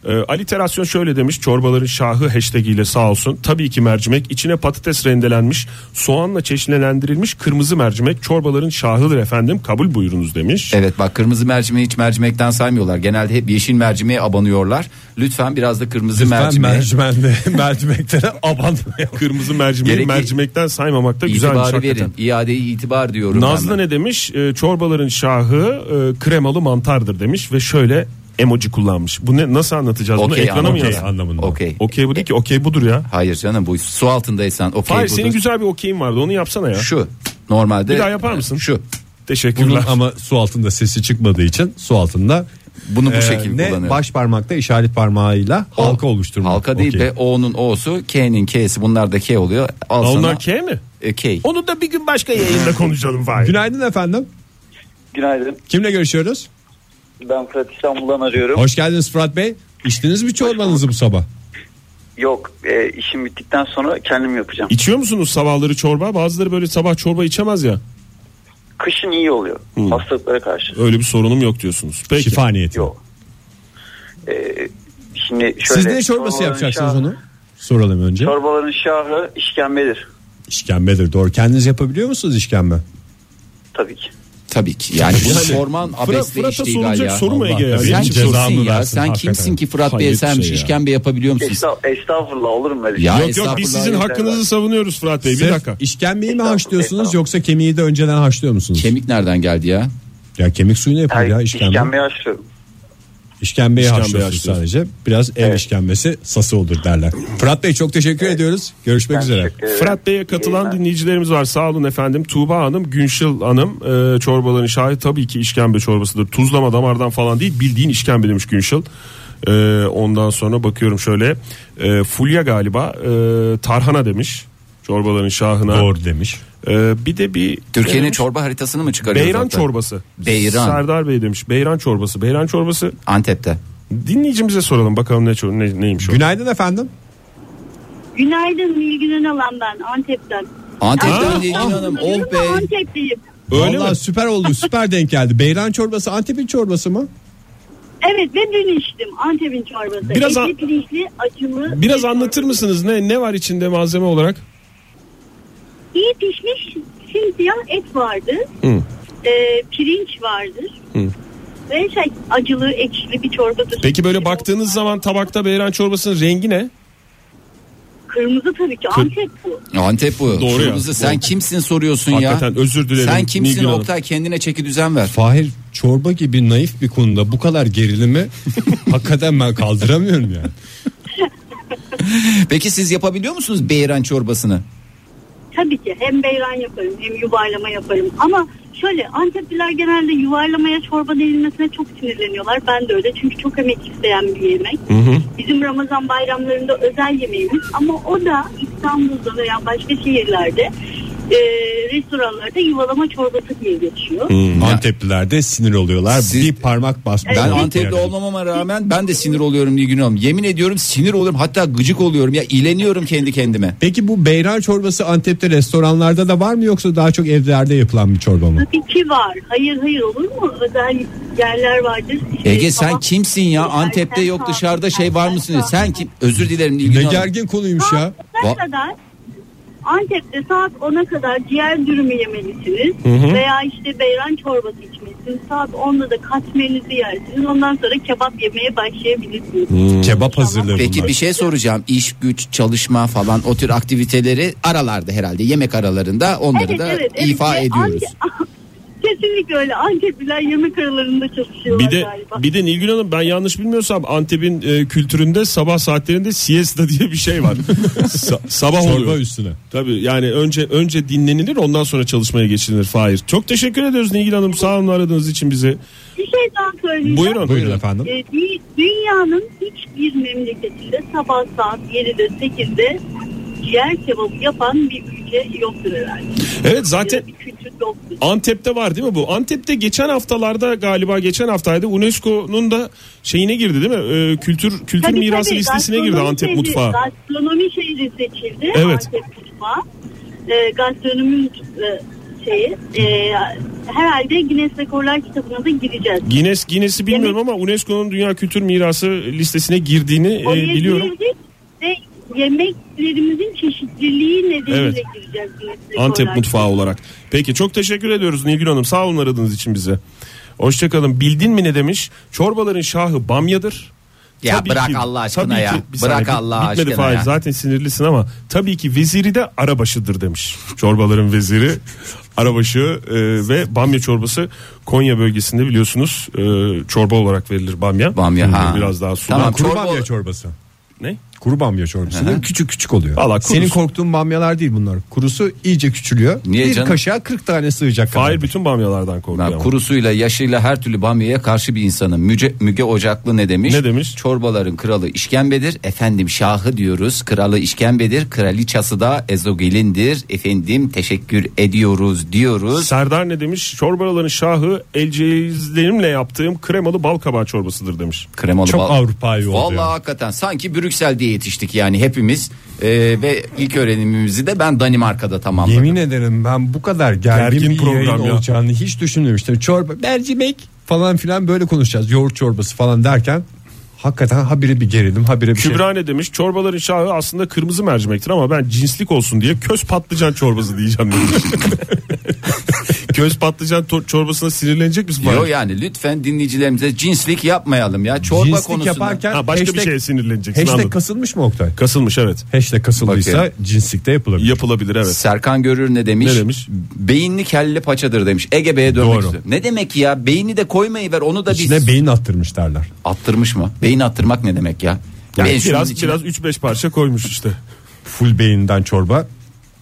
E: Ee, aliterasyon şöyle demiş çorbaların şahı hashtag ile sağ olsun. Tabii ki mercimek içine patates rendelenmiş soğanla çeşnilendirilmiş kırmızı mercimek çorbaların şahıdır efendim kabul buyurunuz demiş.
D: Evet bak kırmızı mercimeği hiç mercimekten saymıyorlar. Genelde hep yeşil mercimeğe abanıyorlar. Lütfen biraz da kırmızı
C: Ben
D: mercimeğe.
C: mercimeğe mercimeklere abanmıyor.
E: Kırmızı mercimeği
D: Gerekli-
E: mercimekten saymamak da güzelmiş
D: İtibarı
E: hakikaten.
D: verin. İadeyi itibar diyorum. ben.
E: Nazlı ne demiş? Ee, çorbaların şahı e, kremalı mantardır demiş ve şöyle emoji kullanmış. Bu ne nasıl anlatacağız bunu?
D: Okey,
E: Ekrana mı
D: anladım.
E: yazsın?
C: anlamında.
D: Okey.
E: Okey bu değil ki okey budur ya.
D: Hayır canım bu su altındaysan okey
E: Hayır
D: budur.
E: senin güzel bir okeyin vardı onu yapsana ya.
D: Şu normalde
E: Bir daha yapar mısın?
D: Şu
E: Teşekkürler.
C: Bunun ama su altında sesi çıkmadığı için su altında
D: Bunu bu
C: e,
D: şekilde
C: ne
D: kullanıyor.
C: baş parmakta işaret parmağıyla halka oluşturmak.
D: Halka değil
C: Okey.
D: be O'nun O'su K'nin K'si bunlar da K oluyor. Al sana
E: Onlar K mi?
D: e, K.
E: Onu da bir gün başka yayında konuşalım Fahir.
C: Günaydın efendim.
J: Günaydın.
C: Kimle görüşüyoruz?
J: Ben Fırat İstanbul'dan arıyorum.
C: Hoş geldiniz Fırat Bey. İçtiniz mi çorbanızı bu sabah?
J: Yok e, işim bittikten sonra kendim yapacağım.
E: İçiyor musunuz sabahları çorba? Bazıları böyle sabah çorba içemez ya.
J: Kışın iyi oluyor. Hastalıklara karşı.
E: Öyle bir sorunum yok diyorsunuz. Peki.
C: Şifa niyeti.
J: Yok. E, şimdi şöyle.
C: Siz ne çorbası
J: çorbaların
C: yapacaksınız
J: şahı-
C: onu? Soralım önce.
J: Çorbaların şahı işkembedir.
C: İşkembedir doğru. Kendiniz yapabiliyor musunuz işkembe?
J: Tabii ki.
D: Tabii ki. Yani bunu sorman
E: Fırat-
D: abesle
E: Fırat'a
D: iştigal
E: sorulacak
D: ya.
E: soru mu
C: Allah
E: Ege ya?
C: Allah.
E: Benim
D: Sen
E: için
D: kimsin
E: soru.
C: cezamı
D: ya?
C: versin
D: Sen
C: hakikaten.
D: kimsin ki Fırat
E: Hayret
D: Bey'e
E: bir
D: sen
E: şey ya.
D: işkembe yapabiliyor musun?
J: Estağ- estağfurullah olur mu öyle şey?
D: Ya
E: Yok yok biz sizin
D: estağfurullah.
E: hakkınızı savunuyoruz Fırat Bey. Bir
C: Sırf
E: dakika.
C: İşkembeyi mi
J: Estağfurullah,
C: haşlıyorsunuz
J: estağfurullah.
C: yoksa kemiği de önceden haşlıyor musunuz?
D: Kemik nereden geldi ya?
C: ya kemik suyunu yapın
J: Hayır,
C: ya işkembe.
J: işkembeyi açıyorum.
C: İşkembeyi
E: İşkembeyi
C: haşlıyorsunuz
E: haşlıyorsunuz.
C: sadece. Biraz ev işkembesi sası olur derler. Fırat Bey çok teşekkür ediyoruz. Görüşmek
J: Ben
C: üzere.
J: teşekkür ederim.
E: Fırat Bey'e katılan
J: Yayınlar.
E: dinleyicilerimiz var. Sağ olun efendim. Tuğba Hanım, Günşil Hanım e, çorbaların şahit tabii ki işkembe çorbasıdır. Tuzlama damardan falan değil bildiğin işkembe demiş Günşil. E, ondan sonra bakıyorum şöyle e, Fulya galiba e, tarhana demiş çorbaların şahına.
C: Doğru demiş.
E: E, bir de bir
D: Türkiye'nin
E: demiş,
D: çorba haritasını mı çıkarıyor?
E: Beyran
D: zaten?
E: çorbası.
D: Beyran.
E: Serdar Bey demiş. Beyran çorbası. Beyran çorbası.
D: Antep'te.
E: Dinleyicimize soralım bakalım ne, çor- ne neymiş o.
C: Günaydın efendim.
K: Günaydın Nilgün Önalan ben Antep'ten.
D: Antep'ten
E: Aa,
D: değil Hanım. Oh
K: Ama
D: be.
K: Antep'teyim.
E: Öyle
C: Vallahi
E: mi?
C: süper oldu. Süper denk geldi. Beyran çorbası Antep'in çorbası mı?
K: Evet ve dün içtim Antep'in çorbası.
E: Biraz an-
K: Etli, pirinçli, acılı.
E: Biraz
K: bir
E: anlatır
K: çorba.
E: mısınız ne ne var içinde malzeme olarak?
K: İyi pişmiş simsiyah et vardı.
E: Hı.
K: Ee, pirinç vardır.
E: Hı.
K: Ve şey acılı ekşili bir çorbadır.
E: Peki böyle baktığınız zaman tabakta beyran çorbasının rengi ne?
K: Kırmızı tabii ki Antep bu.
D: Antep bu.
E: Doğru ya.
D: Kırmızı. Sen kimsin soruyorsun
E: Hakikaten
D: ya.
E: özür dilerim.
D: Sen kimsin
E: Nilgün Hanım.
D: Oktay kendine çeki düzen ver.
C: Fahir çorba gibi naif bir konuda bu kadar gerilimi hakikaten ben kaldıramıyorum yani.
D: Peki siz yapabiliyor musunuz beyran çorbasını?
K: Tabii ki hem beyran yaparım hem yuvarlama yaparım. Ama şöyle Antepliler genelde yuvarlamaya çorba denilmesine çok sinirleniyorlar. Ben de öyle çünkü çok emek isteyen bir yemek. Bizim Ramazan bayramlarında özel yemeğimiz. Ama o da İstanbul'da veya başka şehirlerde e, restoranlarda yuvalama çorbası diye geçiyor.
C: Hmm. Antepliler de sinir oluyorlar.
D: Siz-
C: bir parmak basma.
D: Ben Antep'te olmamama rağmen ben de sinir oluyorum Nilgün Hanım. Yemin ediyorum sinir oluyorum hatta gıcık oluyorum ya ileniyorum kendi kendime.
C: Peki bu beyran çorbası Antep'te restoranlarda da var mı yoksa daha çok evlerde yapılan bir çorba mı?
K: Tabii ki var. Hayır hayır olur mu? Özel yerler vardır. İşte
D: Ege sen
K: sabah-
D: kimsin ya Antep'te yok dışarıda şey var mısın? Sen kim? Özür dilerim Nilgün
C: Ne
D: Hanım.
C: gergin konuymuş ya.
K: Ne
D: Va-
K: kadar Antep'te saat 10'a kadar ciğer dürümü yemelisiniz veya işte beyran çorbası içmelisiniz. Saat 10'da da katmerinizi yersiniz. Ondan sonra kebap yemeye başlayabilirsiniz.
D: Hmm.
C: Kebap hazırlığı
D: Peki
C: bunlar.
D: bir şey soracağım. İş, güç, çalışma falan o tür aktiviteleri aralarda herhalde yemek aralarında onları da ifa
K: Ve
D: ediyoruz.
K: Antep- Kesinlikle öyle. Antepliler yemek aralarında çalışıyorlar
E: Bir de
K: galiba.
E: bir de Nilgün Hanım ben yanlış bilmiyorsam Antep'in e, kültüründe sabah saatlerinde siesta diye bir şey var. Sa- sabah
C: Çorba
E: oluyor.
C: üstüne.
E: Tabii yani önce önce dinlenilir ondan sonra çalışmaya geçilir Fahir. Çok teşekkür ediyoruz Nilgün Hanım sağ olun aradığınız için bizi.
K: Bir şey daha söyleyeceğim.
E: Buyurun.
C: Buyurun efendim.
K: E, dü- dünyanın hiçbir memleketinde sabah saat 7'de 8'de ciğer kebabı yapan bir ülke yoktur herhalde.
E: Evet zaten
K: bir kültür yoktur.
E: Antep'te var değil mi bu? Antep'te geçen haftalarda galiba geçen haftaydı UNESCO'nun da şeyine girdi değil mi? E, kültür kültür
K: Tabii,
E: mirası
K: tabii,
E: listesine girdi
K: gastronomi
E: Antep
K: şehri-
E: mutfağı.
K: Gastronomi şehri seçildi
E: Evet.
K: Antep mutfağı. E, gastronomi e, şeyi. E, herhalde Guinness Rekorlar kitabına da gireceğiz.
E: Guinness Guinness'i bilmiyorum ama UNESCO'nun dünya kültür mirası listesine girdiğini e,
K: Oraya
E: biliyorum.
K: girdik Ve yemeklerimizin çeşitliliği nedeniyle
E: Evet.
K: gireceğiz. Guinness
F: şey
E: Antep
K: Rekorlar
E: mutfağı olarak. Peki çok teşekkür ediyoruz Nilgün Hanım. Sağ olun aradığınız için bize. Hoşçakalın. Bildin mi ne demiş? Çorbaların şahı bamyadır.
D: Ya bırak Allah aşkına
E: tabii
D: ya.
E: bir
D: Bırak
E: bit-
D: Allah
E: bitmedi
D: aşkına
E: Fahir,
D: ya.
E: Zaten sinirlisin ama tabii ki veziri de arabaşıdır demiş. Çorbaların veziri arabaşı e, ve bamya çorbası Konya bölgesinde biliyorsunuz e, çorba olarak verilir bamya.
D: Bamya, ha.
E: Biraz daha su.
D: Tamam.
C: Kuru
D: Çorba-
C: bamya çorbası.
E: Ne?
C: Kuru bamya çorbasının küçük küçük oluyor.
E: Valla kurusu-
C: Senin korktuğun bamyalar değil bunlar. Kurusu iyice küçülüyor.
D: Niye
C: bir
D: canım?
C: kaşığa 40 tane sığacak kadar.
E: Hayır bütün bamyalardan korkuyor.
D: Ben
E: ama.
D: kurusuyla yaşıyla her türlü bamyaya karşı bir insanım. Müce, Müge Ocaklı ne demiş?
E: Ne demiş?
D: Çorbaların kralı işkembedir. Efendim şahı diyoruz. Kralı işkembedir. Kraliçası da ezogelindir. Efendim teşekkür ediyoruz diyoruz.
E: Serdar ne demiş? Çorbaların şahı elceğizlerimle yaptığım kremalı balkabağı çorbasıdır demiş.
D: Kremalı
C: Çok
D: bal.
C: Avrupa'yı oldu.
D: Vallahi
C: ya.
D: hakikaten sanki Brüksel'de yetiştik yani hepimiz Ee, ve ilk öğrenimimizi de ben Danimarka'da tamamladım.
C: Yemin ederim ben bu kadar gergin,
E: Gergin
C: bir
E: program
C: yayın
E: ya.
C: olacağını hiç düşünmemiştim. Çorba, mercimek falan filan böyle konuşacağız. Yoğurt çorbası falan derken hakikaten habire bir gerilim, habire bir şey.
E: Kübra ne demiş? Çorbaların şahı aslında kırmızı mercimektir ama ben cinslik olsun diye köz patlıcan çorbası diyeceğim demiş. köz patlıcan to- çorbasına sinirlenecek misin?
D: Yo yani lütfen dinleyicilerimize cinslik yapmayalım ya çorba
C: Cinslik
D: konusunda.
C: yaparken
E: Ha, başka bir
C: hashtag-
E: şeye sinirleneceksin
C: Hashtag
E: anladım.
C: kasılmış mı Oktay?
E: Kasılmış evet.
C: Hashtag kasıldıysa
D: Bakayım.
C: cinslikte yapılabilir.
E: Yapılabilir evet.
D: Serkan Görür ne demiş?
E: Ne demiş?
D: Beyinli kelle paçadır demiş. Ege Bey'e dönmek
C: Doğru.
D: istiyorum. Ne demek ya? Beyni de koymayı ver. Onu da biz
C: İçine beyin attırmış derler.
D: attırmış mı? Beyin attırmak ne demek ya?
E: Yani
D: Ben şunun
E: biraz
D: içine-
E: biraz 3-5 parça koymuş işte.
C: Full beyinden çorba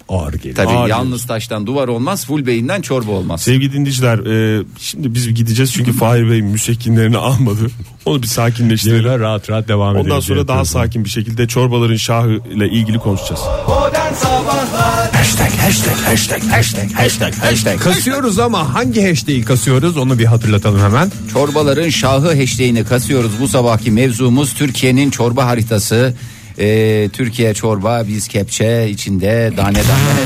C: ağır gelir.
D: Tabii
E: Ağır
D: yalnız taştan duvar olmaz, full beyinden çorba olmaz.
E: Sevgili dinleyiciler e, şimdi biz gideceğiz çünkü Fahir Bey müsekkinlerini almadı. Onu bir sakinleştirelim.
C: Böyle rahat rahat devam edelim.
E: Ondan sonra
C: diye
E: daha
C: yapıyorum.
E: sakin bir şekilde çorbaların şahı ile ilgili konuşacağız.
C: E, Kasıyoruz ama hangi hashtag'i kasıyoruz onu bir hatırlatalım hemen.
D: Çorbaların şahı hashtag'ini kasıyoruz. Bu sabahki mevzumuz Türkiye'nin çorba haritası. Ee, Türkiye çorba, biz kepçe, içinde tane tane.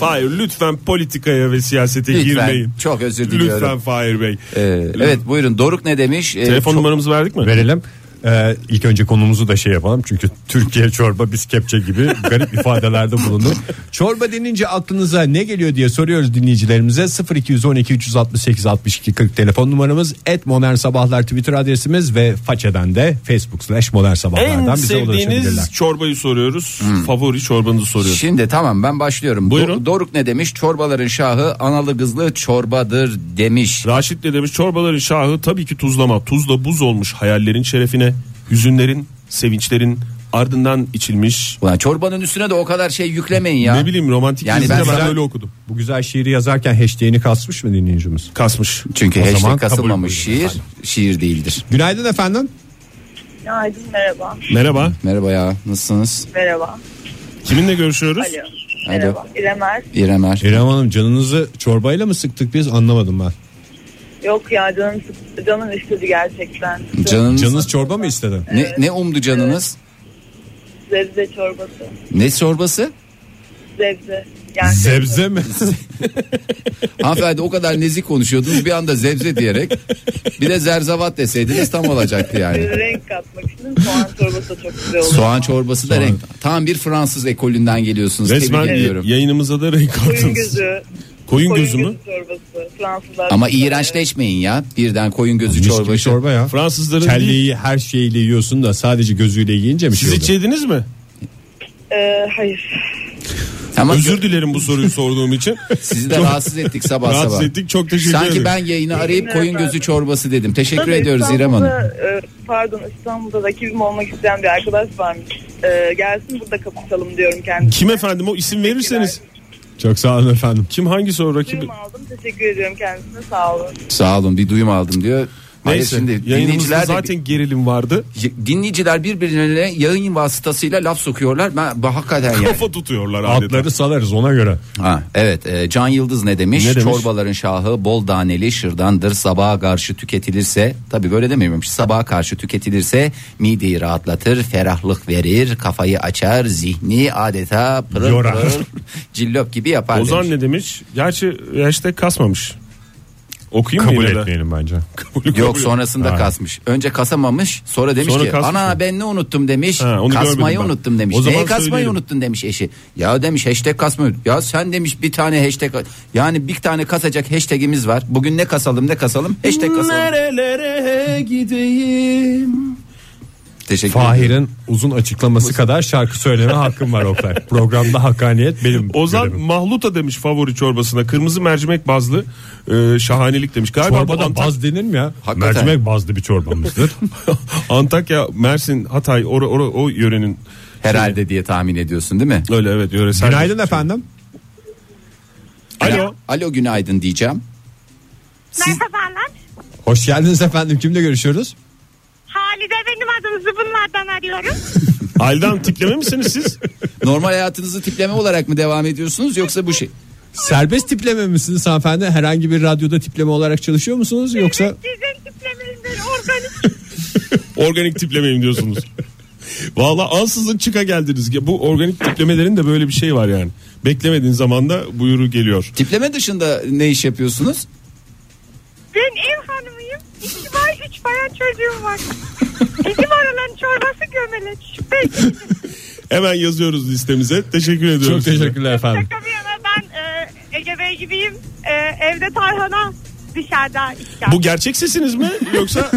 E: Fahir lütfen politikaya ve siyasete
D: Lütfen,
E: girmeyin.
D: çok özür diliyorum.
E: Lütfen Fahir Bey.
D: Ee, evet buyurun Doruk ne demiş? Ee,
E: Telefon
D: ço-
E: numaramızı verdik mi?
C: Verelim. Ee, ilk önce konumuzu da şey yapalım çünkü Türkiye çorba biz kepçe gibi garip ifadelerde bulundu. Çorba denince aklınıza ne geliyor diye soruyoruz dinleyicilerimize 0212 368 62 40 telefon numaramız et modern sabahlar twitter adresimiz ve façeden de facebook slash modern sabahlardan
E: En
C: bize ulaşabilirler.
E: sevdiğiniz çorbayı soruyoruz.
D: Hmm.
E: Favori çorbanızı soruyoruz.
D: Şimdi tamam ben başlıyorum.
E: Buyurun.
D: Do- Doruk ne demiş? Çorbaların şahı analı kızlı çorbadır demiş.
E: Raşit ne demiş? Çorbaların şahı tabii ki tuzlama. Tuzla buz olmuş hayallerin şerefine, hüzünlerin, sevinçlerin ardından içilmiş.
D: Ulan çorbanın üstüne de o kadar şey yüklemeyin ya.
E: Ne bileyim romantik
D: Yani
E: yani
D: ben
E: ben,
D: güzel-
E: öyle okudum.
C: Bu güzel şiiri yazarken hashtag'ini kasmış mı dinleyicimiz?
E: Kasmış.
D: Çünkü
C: O
D: hashtag
C: zaman kabul
D: kasılmamış
C: buyurun
D: şiir, şiir değildir.
C: Günaydın efendim.
F: Günaydın merhaba.
E: Merhaba.
D: Merhaba ya nasılsınız?
F: Merhaba.
E: Kiminle görüşüyoruz?
F: Alo. Merhaba. İrem Er.
D: İrem Er.
C: İrem Hanım canınızı çorbayla mı sıktık biz anlamadım ben.
F: Yok ya canım, sık- canım istedi gerçekten.
E: E,
D: Canınız,
C: Canınız çorba mı istedi?
D: ne, ne umdu canınız?
F: Zebze çorbası.
D: Ne çorbası?
F: Zebze. Yani
C: Zebze mi?
D: Hanımefendi o kadar nezik konuşuyordunuz bir anda zebze diyerek bir de zerzevat deseydiniz tam olacaktı yani.
F: renk katmak için soğan çorbası da çok güzel olur.
D: Soğan çorbası da renk. Tam bir Fransız ekolünden geliyorsunuz.
E: Resmen
D: Tebrik ediyorum.
E: yayınımıza da renk
F: Koyun
E: attınız.
F: gözü.
E: Koyun
F: Koyun
E: gözü
F: gözü
E: mü?
F: çorbası. Fransızlar.
D: Ama iğrençleşmeyin ya. Birden koyun gözü
C: Mis gibi
D: çorbası.
C: çorba ya.
E: Fransızların değil.
C: Kelleyi her şeyle yiyorsun da sadece gözüyle yiyince mi
E: Siz
C: şey
E: hiç
C: oluyor?
E: yediniz mi?
F: Ee, hayır.
D: Ama
E: Özür dilerim bu soruyu sorduğum için.
D: sizi de rahatsız ettik sabah
E: Rahatsız
D: sabah.
E: ettik. Çok teşekkür
D: Sanki
E: ederim.
D: ben yayını arayıp koyun gözü çorbası dedim. Teşekkür
F: Tabii
D: ediyoruz İrem
F: İstanbul'da,
D: Hanım.
F: e, Pardon İstanbul'da rakibim olmak isteyen bir arkadaş varmış. E, gelsin burada kapışalım diyorum kendisine.
E: Kim efendim o isim verirseniz.
C: Çok sağ olun efendim.
E: Kim hangisi o rakibi?
F: Duyum aldım. Teşekkür ediyorum kendisine. Sağ olun.
D: Sağ olun bir duyum aldım diyor. Hayır
E: Neyse
D: şimdi
E: yayınımızda
D: dinleyiciler, de-
E: zaten gerilim vardı.
D: dinleyiciler birbirine yayın vasıtasıyla laf sokuyorlar. Ben, ben hakikaten yani.
E: Kafa tutuyorlar adeta.
C: Atları salarız ona göre.
D: Ha, evet e, Can Yıldız ne demiş?
E: Ne demiş?
D: Çorbaların şahı bol daneli şırdandır sabaha karşı tüketilirse tabi böyle demiyormuş sabaha karşı tüketilirse mideyi rahatlatır ferahlık verir kafayı açar zihni adeta pırıl
C: Yorar.
D: pırıl cillop gibi yapar
E: Ozan
D: demiş.
E: ne demiş? Gerçi hashtag kasmamış. Okuyayım mı
C: Kabul
E: yine de?
C: etmeyelim bence.
E: Kabul-
D: Yok
E: kabul-
D: sonrasında kasmış. Önce kasamamış sonra demiş
E: Sonra
D: ki
E: kasmış
D: ana
E: mı?"
D: ben ne unuttum demiş.
E: Ha, onu
D: kasmayı
E: görmedim ben.
D: unuttum demiş.
E: O zaman
D: Neye kasmayı
E: söyleyelim.
D: unuttun demiş eşi. Ya demiş hashtag kasmayı Ya sen demiş bir tane hashtag yani bir tane kasacak hashtagimiz var. Bugün ne kasalım ne kasalım hashtag kasalım.
E: Nerelere gideyim?
D: Teşekkür ederim.
C: Fahir'in uzun açıklaması kadar şarkı söyleme hakkım var Oktay. Programda hakkaniyet benim
E: Ozan
C: görevim.
E: Mahluta demiş favori çorbasına. Kırmızı mercimek bazlı e, şahanelik demiş. Galiba bu
C: Çorbada
E: Antak-
C: baz denir mi ya?
D: Hakikaten.
C: Mercimek bazlı bir çorbamızdır.
E: Antakya, Mersin, Hatay or, or, o yörenin.
D: Herhalde diye tahmin ediyorsun değil mi?
E: Öyle evet yöresel.
C: Günaydın efendim.
E: Alo.
D: Alo günaydın diyeceğim.
L: Merhabalar.
C: Hoş geldiniz efendim. Kimle görüşüyoruz?
L: Halide benim adım Zıbınlar'dan arıyorum.
E: Aydan tipleme misiniz siz?
D: Normal hayatınızı tipleme olarak mı devam ediyorsunuz yoksa bu şey?
C: Serbest tipleme misiniz hanımefendi? Herhangi bir radyoda tipleme olarak çalışıyor musunuz yoksa?
L: Sizin tiplemeninden organik.
E: organik tiplemeyim diyorsunuz. Valla ansızın çıka geldiniz. Bu organik tiplemelerin de böyle bir şey var yani. Beklemediğin zamanda buyuru geliyor.
D: Tipleme dışında ne iş yapıyorsunuz?
L: Ben ev hanımıyım. İki var üç bayan çocuğum var. Bizim araların çorbası gömeleç. Peki.
E: Hemen yazıyoruz listemize. Teşekkür ediyoruz.
C: Çok
E: size.
C: teşekkürler efendim.
L: Şaka bir yana ben e, Ege Bey gibiyim. E, evde tarhana dışarıda işkar.
E: Bu gerçek sesiniz mi yoksa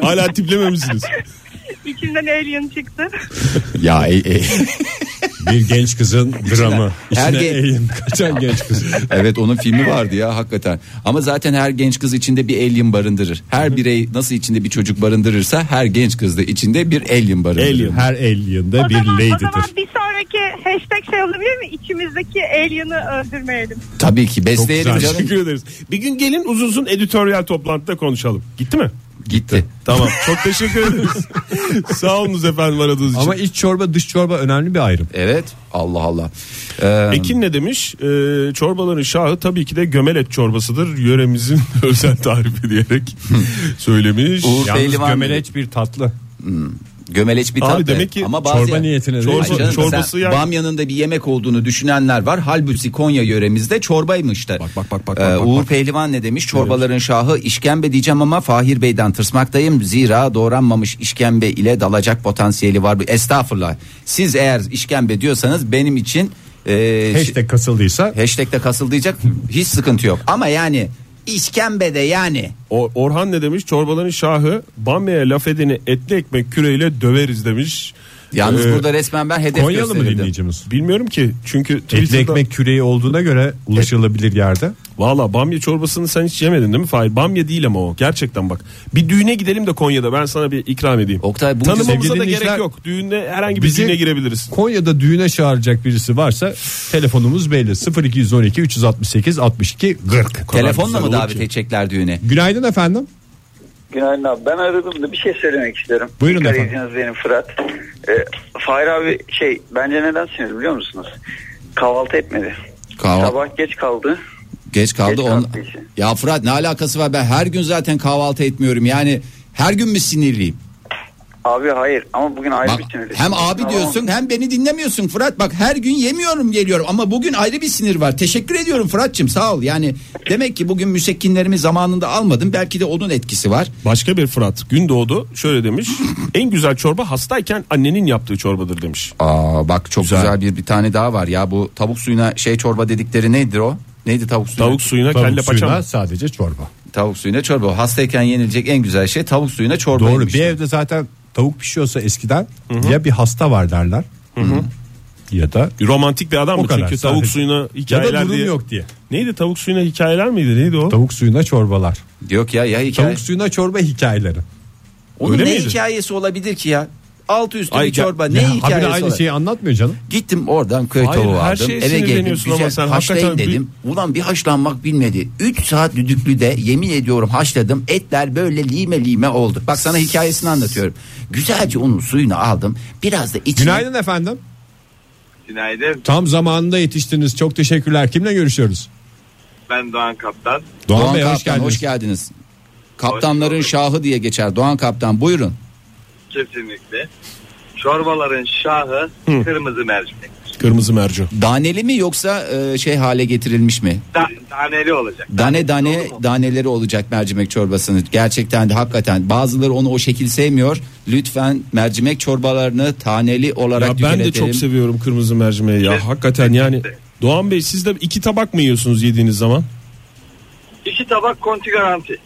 E: hala tipleme misiniz?
L: İçimden alien çıktı.
D: Ya
E: e,
C: Bir genç kızın dramı.
D: İçine
C: İçine
D: ergen-
C: eğim kaçan genç kız.
D: evet onun filmi vardı ya hakikaten. Ama zaten her genç kız içinde bir alien barındırır. Her birey nasıl içinde bir çocuk barındırırsa her genç kız da içinde bir alien barındırır.
E: Alien.
C: Her alien'da
L: o,
C: E, bir
L: zaman, o zaman
C: lady'dir.
L: bir sonraki hashtag şey olabilir mi? İçimizdeki alien'ı öldürmeyelim.
D: Tabii ki besleyelim
C: güzel.
D: canım.
E: Teşekkür ederiz. Bir gün gelin uzun uzun editoryal toplantıda konuşalım. Gitti mi?
D: Gitti.
E: Tamam. Çok teşekkür ederiz. Sağ olunuz efendim aradığınız için.
C: Ama iç çorba dış çorba önemli bir ayrım.
D: Evet Allah Allah. Ee,
E: Ekin ne demiş? Ee, çorbaların şahı tabii ki de gömelet çorbasıdır. Yöremizin özel tarifi diyerek söylemiş.
D: Uğur
E: Yalnız
D: Beylivan
E: gömeleç
C: Hiçbir tatlı.
D: Gömeleç bir
E: Abi
D: tatlı.
E: demek ki
D: Ama bazı
C: çorba niyetine de-
D: Ay canım,
E: çorbası
D: sen
E: yani.
D: Bamyanın da bir yemek olduğunu düşünenler var. Halbuki Konya yöremizde çorbaymış da. Bak
E: bak, bak, bak,
D: Ee,
E: bak,
D: Uğur Pehlivan ne demiş? Çorbaların şahı işkembe diyeceğim ama Fahir Bey'den tırsmaktayım. Zira doğranmamış işkembe ile dalacak potansiyeli var. Estağfurullah. Siz eğer işkembe diyorsanız benim için e,
C: Hashtag kasıldıysa
D: hashtag'te kasıldayacak hiç sıkıntı yok. Ama yani işkembe de yani.
E: O- Orhan ne demiş? Çorbaların şahı Bamya'ya laf edeni etli ekmek küreyle döveriz demiş.
D: Yalnız
E: Ee,
D: burada resmen ben hedef
C: Konyalı mı
D: gösterildim.
C: dinleyicimiz?
E: Bilmiyorum ki çünkü
C: Etli
E: Twitter'da-
C: ekmek küreği olduğuna göre ulaşılabilir yerde.
E: Valla bamya çorbasını sen hiç yemedin değil mi Fahir? Bamya değil ama o gerçekten bak. Bir düğüne gidelim de Konya'da ben sana bir ikram edeyim.
D: Oktay bu
E: Tanımamıza
C: Sevgili
E: da gerek
C: dinleyiciler,
E: yok. Düğünde herhangi bir
C: bizi-
E: düğüne girebiliriz.
C: Konya'da düğüne çağıracak birisi varsa telefonumuz belli 0212 368 62 40.
D: telefonla mı
E: olur
D: davet
E: ki.
D: edecekler düğüne?
C: Günaydın efendim.
J: Günaydın abi. Ben aradım da bir şey söylemek isterim.
C: Buyurun
J: İlk
C: efendim.
J: arayacağınız benim Fırat. Ee, Fahir abi şey bence nedensiniz biliyor musunuz? Kahvaltı etmedi.
D: Kahvaltı-
J: Sabah geç kaldı.
D: Geç kaldı.
J: Geç
D: on...
J: kalktığı için.
D: Ya Fırat ne alakası var ben her gün zaten kahvaltı etmiyorum yani her gün mü sinirliyim?
J: Abi hayır ama bugün ayrı
D: Bak,
J: bir sinirli.
D: hem abi
J: Tamam.
D: diyorsun hem beni dinlemiyorsun Fırat bak her gün yemiyorum geliyorum ama bugün ayrı bir sinir var teşekkür ediyorum Fırat'cığım sağ ol yani demek ki bugün müsekkinlerimi zamanında almadım belki de onun etkisi var
E: Başka bir Fırat gün doğdu şöyle demiş. en güzel çorba hastayken annenin yaptığı çorbadır demiş.
D: Aa, bak çok güzel,
E: Güzel.
D: bir bir tane daha var ya bu tavuk suyuna şey çorba dedikleri nedir o neydi tavuk suyuna
E: Tavuk suyuna
C: Tavuk
E: kelle paça
C: suyuna
E: mı?
C: sadece çorba.
D: tavuk suyuna çorba hastayken yenilecek en güzel şey tavuk suyuna çorba
C: Doğru
D: yemiş.
E: şey.
C: bir evde zaten tavuk pişiyorsa eskiden ya bir hasta var derler. Ya da
E: Romantik bir adam
C: O
E: mı?
C: kadar,
E: Çünkü tavuk
C: sadece.
E: suyuna
C: ya
E: hikayeler
C: da durum
E: diye.
C: yok diye.
E: Neydi tavuk suyuna hikayeler miydi neydi o?
C: Tavuk suyuna çorbalar.
D: Yok ya ya hikaye.
C: Tavuk suyuna çorba hikayeleri.
D: Onun
E: Öyle
D: ne
E: miydi?
D: hikayesi olabilir ki ya? Altı üstü
E: Ay,
D: bir çorba
E: ya- şey-
D: ne
C: Ha bir de
D: hikayesi Şey-
C: aynı
D: olabilir?
C: şeyi anlatmıyor canım.
D: Gittim oradan köy
E: Hayır,
D: tavuğu
E: her
D: aldım.
E: şeye
D: Eve geldim
E: sinirleniyorsun ama
D: güzel
E: sen
D: haşlayın
E: hakikaten
D: dedim. Ulan bir haşlanmak bilmedi. 3 saat düdüklüde yemin ediyorum haşladım. Etler böyle lime lime oldu. Bak sana hikayesini anlatıyorum. Güzelce onun suyunu aldım. Biraz da içine...
C: Günaydın efendim.
J: Günaydın.
C: Tam zamanında yetiştiniz. Çok teşekkürler. Kimle görüşüyoruz?
J: Ben Doğan Kaptan.
C: Doğan,
D: Doğan
C: Bey
D: Kaptan
C: hoş geldiniz.
D: Kaptanların
J: Hoş bulduk.
D: şahı diye geçer. Doğan Kaptan buyurun.
J: Kesinlikle. Çorbaların şahı kırmızı mercimek.
E: Kırmızı mercan.
D: Daneli mi yoksa e, şey hale getirilmiş mi?
J: taneli olacak.
D: Dane dane daneleri olacak mercimek çorbasını. Gerçekten de hakikaten bazıları onu o şekil sevmiyor. Lütfen mercimek çorbalarını taneli olarak
E: Ya ben de
D: tüketelim.
E: çok seviyorum kırmızı mercimeği ya. Hakikaten yani. Doğan Bey siz de iki tabak mı yiyorsunuz yediğiniz zaman?
J: İki tabak konti garanti.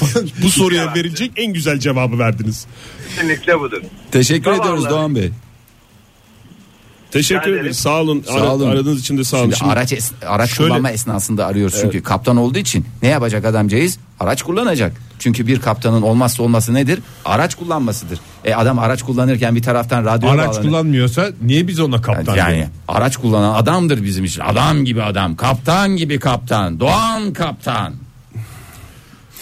E: Bu Bu soruya verilecek en güzel cevabı verdiniz.
M: Kesinlikle budur.
D: Teşekkür
M: Zavallı.
D: ediyoruz Doğan Bey.
E: Teşekkür
M: Rica ederim.
E: ederim. Sağ olun.
D: Sağ
E: Ara-
D: olun.
E: Aradığınız için de sağ olun.
D: Şimdi
E: Şimdi-
D: araç es- araç
E: Şöyle-
D: kullanma esnasında arıyoruz çünkü kaptan olduğu için ne yapacak adamcağız? Araç kullanacak. Çünkü bir kaptanın olmazsa olması nedir? Araç kullanmasıdır. E adam araç kullanırken bir taraftan radyo
C: Araç
D: bağlanır.
C: kullanmıyorsa niye biz ona kaptan
D: yani
C: diyelim?
D: araç kullanan adamdır bizim için. Adam gibi adam, kaptan gibi kaptan, Doğan kaptan.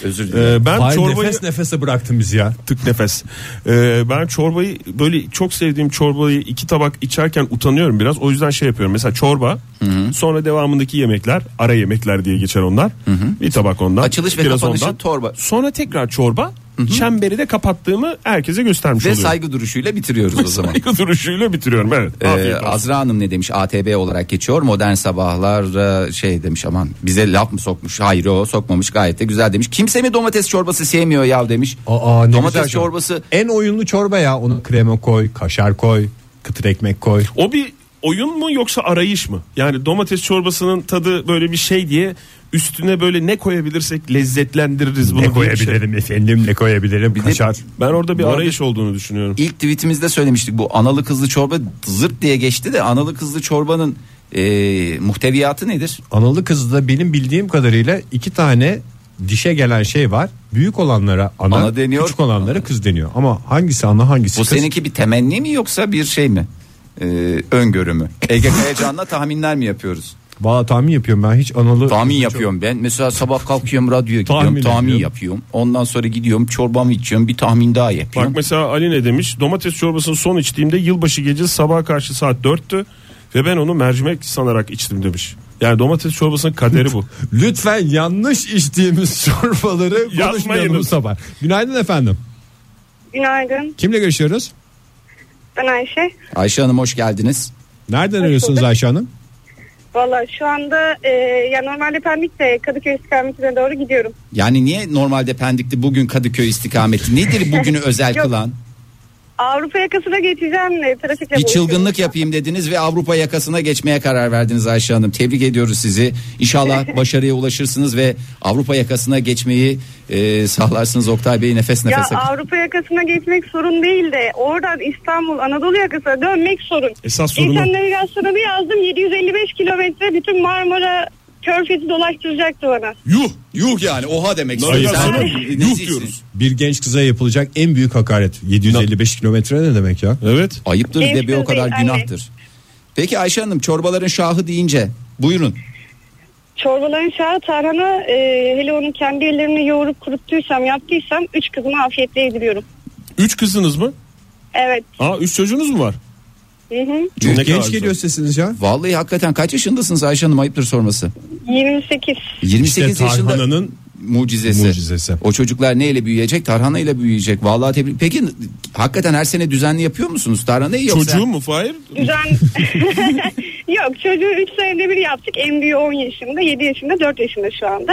D: Özür dilerim.
E: Ee, ben
C: Fahir
E: çorbayı
C: nefes nefese bıraktın bizi ya.
E: tık nefes. Ee, ben çorbayı böyle çok sevdiğim çorbayı iki tabak içerken utanıyorum biraz. O yüzden şey yapıyorum. Mesela çorba, sonra devamındaki yemekler, ara yemekler diye geçer onlar. Bir tabak ondan,
D: Açılış ve
E: biraz
D: kapanışı
E: ondan.
D: torba.
E: Sonra tekrar çorba. Çemberi de kapattığımı herkese göstermiş
D: Ve
E: oluyorum.
D: saygı duruşuyla bitiriyoruz o zaman.
E: Saygı duruşuyla bitiriyorum evet.
D: Ee,
E: Afiyet olsun.
D: Azra Hanım ne demiş ATB olarak geçiyor modern sabahlar e, şey demiş aman bize laf mı sokmuş hayır o sokmamış gayet de güzel demiş kimse mi domates çorbası sevmiyor ya demiş
C: Aa, ne
D: domates
C: güzel şey.
D: çorbası
C: En oyunlu çorba ya. Onu krema koy, kaşar koy, kıtır ekmek koy.
E: O bir oyun mu yoksa arayış mı? Yani domates çorbasının tadı böyle bir şey diye üstüne böyle ne koyabilirsek lezzetlendiririz bunu.
C: Ne
E: diye bir şey.
C: koyabilirim efendim ne koyabilirim
D: de-
C: kaşar.
E: Ben orada bir
D: Bu arada-
E: arayış olduğunu düşünüyorum.
D: ilk tweetimizde söylemiştik bu analı kızlı çorba zırt diye geçti de analı kızlı çorbanın e, muhteviyatı nedir
C: Analı kızda benim bildiğim kadarıyla iki tane dişe gelen şey var. Büyük olanlara ana,
D: Ana deniyor.
C: küçük olanlara kız deniyor. Ama hangisi ana hangisi
D: bu
C: kız?
D: seninki bir temenni mi yoksa bir şey mi Ee, E öngörü mü Ege Kayacan'la tahminler mi yapıyoruz
C: Valla tahmin yapıyorum ben hiç analı.
D: Tahmin
C: kızı
D: yapıyorum ben. Mesela sabah kalkıyorum radyoya gidiyorum
C: Tahmin
D: tahmin,
C: ediyorum.
D: yapıyorum. Ondan sonra gidiyorum çorbamı içiyorum bir tahmin daha
E: Bak
D: yapıyorum.
E: mesela Ali ne demiş? Domates çorbasını son içtiğimde yılbaşı gecesi sabaha karşı saat 4'tü ve ben onu mercimek sanarak içtim demiş. Yani domates çorbasının kaderi bu.
C: çok- Lütfen yanlış içtiğimiz çorbaları konuşmayalım bu
E: Yazmayınız.
C: sabah. Günaydın efendim.
L: Günaydın.
C: Kimle görüşüyoruz?
L: Ben Ayşe.
D: Ayşe Hanım hoş geldiniz.
C: Nereden arıyorsunuz
L: bulduk.
C: Ayşe Hanım?
L: Valla şu anda e, ya normalde Pendik'te Kadıköy istikametine doğru gidiyorum.
D: Yani niye normalde Pendik'te bugün Kadıköy istikameti nedir bugünü özel
L: Yok,
D: kılan?
L: Avrupa yakasına geçeceğim de trafikle
D: Bir çılgınlık
L: boğuşuyorum.
D: yapayım dediniz ve Avrupa yakasına geçmeye karar verdiniz Ayşe Hanım. Tebrik ediyoruz sizi. İnşallah başarıya ulaşırsınız ve Avrupa yakasına geçmeyi e, sağlarsınız Oktay Bey nefes
L: Ya
D: nefese.
L: Avrupa yakasına geçmek sorun değil de oradan İstanbul Anadolu yakasına dönmek sorun.
E: Esas sorunu.
L: İnsan navigasyona bir yazdım 755 kilometre bütün Marmara Körfezi dolaştıracaktı bana.
E: Yuh!
D: Yuh yani oha demek.
E: Hayır,
D: istiyorum.
E: sana
D: Sen-
E: yuh
D: necisin?
E: diyoruz.
C: Bir genç kıza yapılacak en büyük hakaret. 755 kilometre ne demek ya?
E: Evet.
D: Ayıptır
L: Mevcut
D: ve bir o kadar
L: değil,
D: günahtır. Peki Ayşe Hanım çorbaların şahı deyince buyurun.
L: Çorbaların şahı tarhana e, hele onun kendi ellerini yoğurup kuruttuysam yaptıysam üç kızıma afiyetle yediriyorum.
E: Üç kızınız mı?
L: Evet.
E: Aa üç çocuğunuz mu var?
L: Hı hı.
E: Ne kadar
C: Çok genç
E: güzel.
C: geliyor sesiniz ya.
D: Vallahi hakikaten kaç yaşındasınız Ayşe Hanım ayıptır sorması.
L: 28.
D: 28
C: İşte
D: yaşında
C: tarhananın
D: mucizesi.
C: mucizesi.
D: O çocuklar neyle büyüyecek? Tarhana ile büyüyecek. Vallahi tebrik. Peki hakikaten her sene düzenli yapıyor musunuz tarhanayı yoksa?
E: Çocuğu mu Fahir?
L: Düzen... Yok çocuğu 3 senede bir yaptık. En büyüğü 10 yaşında, 7 yaşında, 4 yaşında şu anda.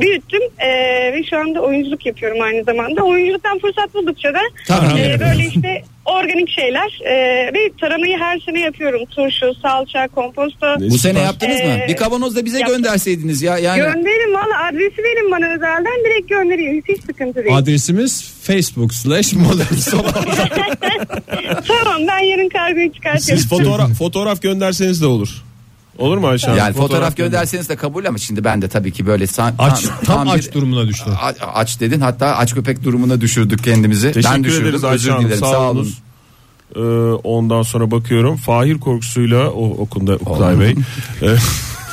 L: Büyüttüm e, ve şu anda oyunculuk yapıyorum aynı zamanda. Oyunculuktan fırsat buldukça da
D: Tarhana
L: e,
D: yapıyorsun.
L: böyle işte organik şeyler e, ve taranayı her sene yapıyorum. Turşu, salça, komposto.
D: Bu sene yaptınız mı?
L: Ee,
D: Bir kavanoz da bize
L: yaptım.
D: gönderseydiniz ya. Yani
L: Gönderin valla adresi verin bana özelden direkt göndereyim. Hiç sıkıntı değil.
C: Adresimiz facebook slash modern sabah.
L: tamam ben yarın kargoyu çıkartıyorum.
E: Siz fotoğraf, fotoğraf gönderseniz de olur. Olur mu Ayşe Hanım?
D: yani fotoğraf, gönderseniz de kabul ama şimdi ben de tabii ki böyle san-
C: aç,
D: tam-
C: tam,
D: tam
C: aç
D: bir-
C: durumuna düştü.
D: A- aç dedin hatta aç köpek durumuna düşürdük kendimizi. ben
E: Teşekkür
D: düşürdüm
E: ederiz Ayşe
D: özür
E: Hanım.
D: dilerim.
E: Sağ, olun. Ee, ondan sonra bakıyorum. Fahir korkusuyla o okunda Oktay
D: Oğlum.
E: Bey. Ee,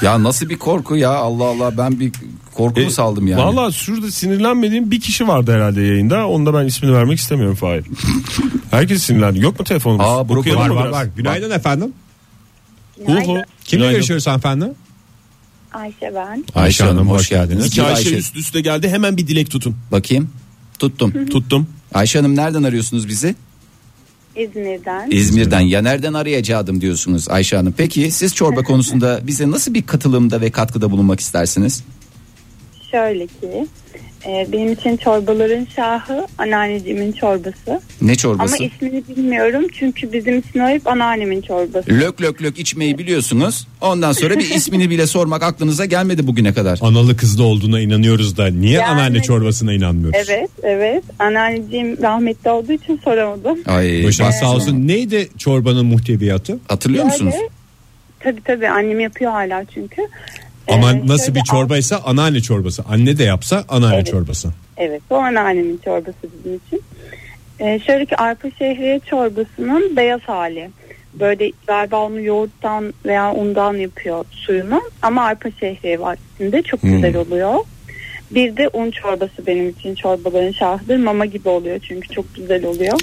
D: Ya nasıl bir korku ya Allah Allah ben bir korku mu saldım yani.
E: Valla E, şurada sinirlenmediğim bir kişi vardı herhalde yayında. Onu da ben ismini vermek istemiyorum Fahir. Herkes sinirlendi. Yok mu telefonumuz?
D: Aa, Buruk
E: Okuyalım
C: Var
E: mı
C: var
E: biraz?
C: var. Günaydın efendim.
E: Uhu.
C: Kimle
E: Günaydın.
C: görüşüyoruz hanımefendi?
L: Ayşe ben.
D: Ayşe Hanım hoş geldiniz.
E: İki Ayşe,
D: Ayşe.
E: üst üste geldi. Hemen bir dilek tutun.
D: Bakayım tuttum.
E: Tuttum.
D: Ayşe Hanım nereden arıyorsunuz bizi?
L: İzmir'den.
D: İzmir'den ya nereden arayacaktım diyorsunuz Ayşe Hanım. Peki siz çorba konusunda bize nasıl bir katılımda ve katkıda bulunmak istersiniz?
L: Şöyle ki
M: Ee, benim için çorbaların şahı anneannecimin çorbası.
D: Ne çorbası?
M: Ama ismini bilmiyorum çünkü bizim için o hep anneannemin çorbası.
D: Lök lök lök içmeyi biliyorsunuz. Ondan sonra bir ismini bile sormak aklınıza gelmedi bugüne kadar.
C: Analı kızlı olduğuna inanıyoruz da niye
M: Yani-
C: anneanne çorbasına inanmıyoruz?
M: Evet evet anneanneciğim rahmetli olduğu için soramadım.
D: Ay,
C: Başınız
D: bak-
C: sağ olsun. Neydi çorbanın muhteviyatı?
D: Hatırlıyor musunuz?
M: Böyle, Tabii tabii annem yapıyor hala çünkü.
C: Ama
M: Ee,
C: nasıl
M: şöyle
C: bir çorbaysa anneanne çorbası. Anne de yapsa anneanne çorbası.
M: Evet bu anneannemin çorbası bizim için. Ee, şöyle ki arpa şehriye çorbasının beyaz hali. Böyle galiba onu yoğurttan veya undan yapıyor suyunu. Ama arpa şehriye var içinde çok güzel oluyor. Bir de un çorbası benim için çorbaların şahıdır. Mama gibi oluyor çünkü çok güzel oluyor.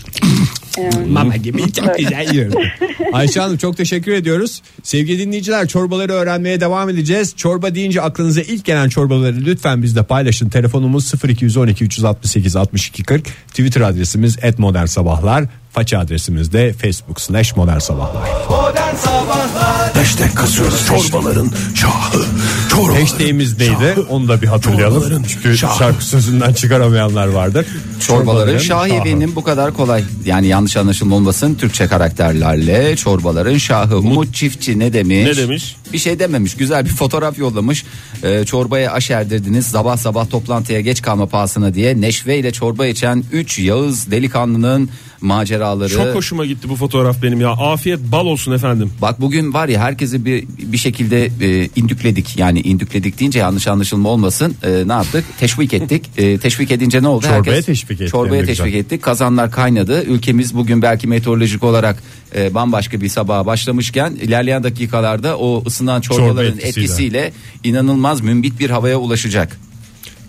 M: Ee,
C: Mama gibi çok güzel yiyorum. Ayşe Hanım çok teşekkür ediyoruz. Sevgili dinleyiciler çorbaları öğrenmeye devam edeceğiz. Çorba deyince aklınıza ilk gelen çorbaları lütfen bizle paylaşın. Telefonumuz 0212 368 62 40. Twitter adresimiz @modernsabahlar. Faça adresimiz de facebook slash modern sabahlar.
H: Modern Sabahlar
G: Hashtag kasıyoruz. Çorbaların şahı. Çorbaların
C: Hashtag'imiz neydi? Onu da bir hatırlayalım.
G: Çorbaların
C: Çünkü
G: şahı.
C: şarkı sözünden çıkaramayanlar vardır.
D: Çorbaların şahı efendim bu kadar kolay. Yani yanlış anlaşılma olmasın Türkçe karakterlerle çorbaların şahı. Umut Çiftçi ne demiş?
E: Ne demiş?
D: Bir şey dememiş güzel bir fotoğraf yollamış. Ee, çorbaya aş erdirdiniz sabah sabah toplantıya geç kalma pahasına diye neşveyle çorba içen 3 Yağız delikanlının maceraları.
E: Çok hoşuma gitti bu fotoğraf benim ya. Afiyet bal olsun efendim.
D: Bak bugün var ya herkesi bir bir şekilde e, indükledik. Yani indükledik deyince yanlış anlaşılma olmasın. E, ne yaptık? Teşvik ettik. E, teşvik edince ne oldu?
C: Çorbaya teşvik ettik.
D: Çorbaya
C: Ne
D: teşvik
C: güzel.
D: ettik. Kazanlar kaynadı. Ülkemiz bugün belki meteorolojik olarak e, bambaşka bir sabaha başlamışken ilerleyen dakikalarda o ısınan çorbaların
C: etkisiyle.
D: etkisiyle. inanılmaz mümbit bir havaya ulaşacak.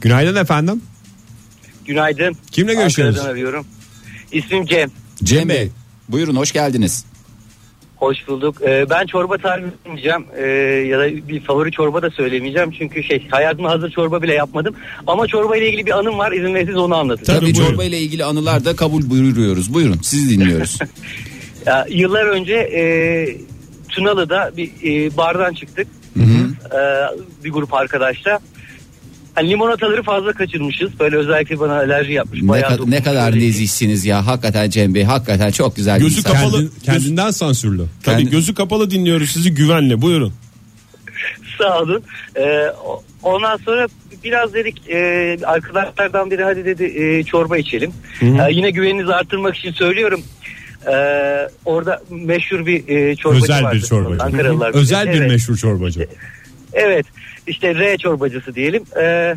C: Günaydın efendim.
N: Günaydın.
C: Kimle görüşüyoruz?
N: Ankara'dan arıyorum. İsmim Cem.
D: Cem Bey buyurun hoş geldiniz.
N: Hoş bulduk. Ee, ben çorba tarifi vermeyeceğim Ee, ya da bir favori çorba da söylemeyeceğim. Çünkü şey hayatımda hazır çorba bile yapmadım. Ama çorba ile ilgili bir anım var. İzin verirseniz onu anlatacağım.
D: Tabii,
E: buyurun.
D: çorba ile ilgili anılar da kabul buyuruyoruz. Buyurun sizi dinliyoruz.
N: Ya, yıllar önce e, Tunalı'da bir e, bardan çıktık. Ee, bir grup arkadaşla. Hani limonataları fazla kaçırmışız. Böyle özellikle bana alerji yapmış.
D: ne,
N: Bayağı
D: ka- ne
N: dokunmuş.
D: kadar nezihsiniz ya hakikaten Cem Bey hakikaten çok güzel. bir
E: Gözü
D: insan.
E: kapalı.
C: Kendin- kendinden sansürlü.
E: Tabii
D: Kendi-
E: gözü kapalı dinliyoruz sizi güvenle. Buyurun.
N: Sağ olun. Ee, o- ondan sonra biraz dedik e, arkadaşlardan biri hadi dedi e, çorba içelim. Ee, yine güveninizi artırmak için söylüyorum. Ee, orada meşhur bir e, çorbacı
C: Özel
N: vardı.
C: bir çorbacı.
N: Ankaralılar bilir.
C: Özel bir
N: Evet.
C: meşhur çorbacı.
N: Evet işte R çorbacısı diyelim. Ee,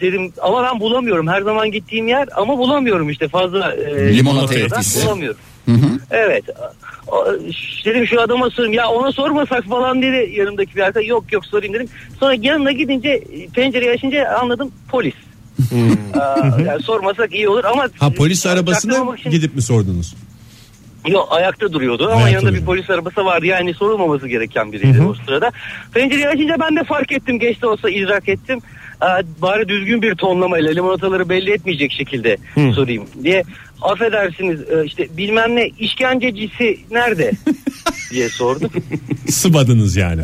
N: dedim ama ben bulamıyorum her zaman gittiğim yer ama bulamıyorum işte fazla e,
D: Limonata
N: limonatadan
D: etkisi.
N: bulamıyorum. Evet O- dedim şu adama sorayım ya ona sormasak falan dedi yanımdaki bir arkadaş yok yok sorayım dedim. Sonra yanına gidince e, pencereyi açınca anladım polis. Aa, yani sormasak iyi olur ama
C: Ha polis arabasına
N: çaktırmamak
O: şey-
N: için-
C: gidip mi sordunuz?
N: Yok ayakta duruyordu ama
C: Ayakta
N: yanında
C: duruyor.
N: bir polis arabası vardı yani sorulmaması gereken biriydi o sırada. Pencereyi açınca ben de fark ettim geç de olsa idrak ettim. Ee, bari düzgün bir tonlamayla limonataları belli etmeyecek şekilde sorayım diye. Affedersiniz e, işte bilmem ne işkencecisi nerede diye sordum.
C: Sıvadınız yani.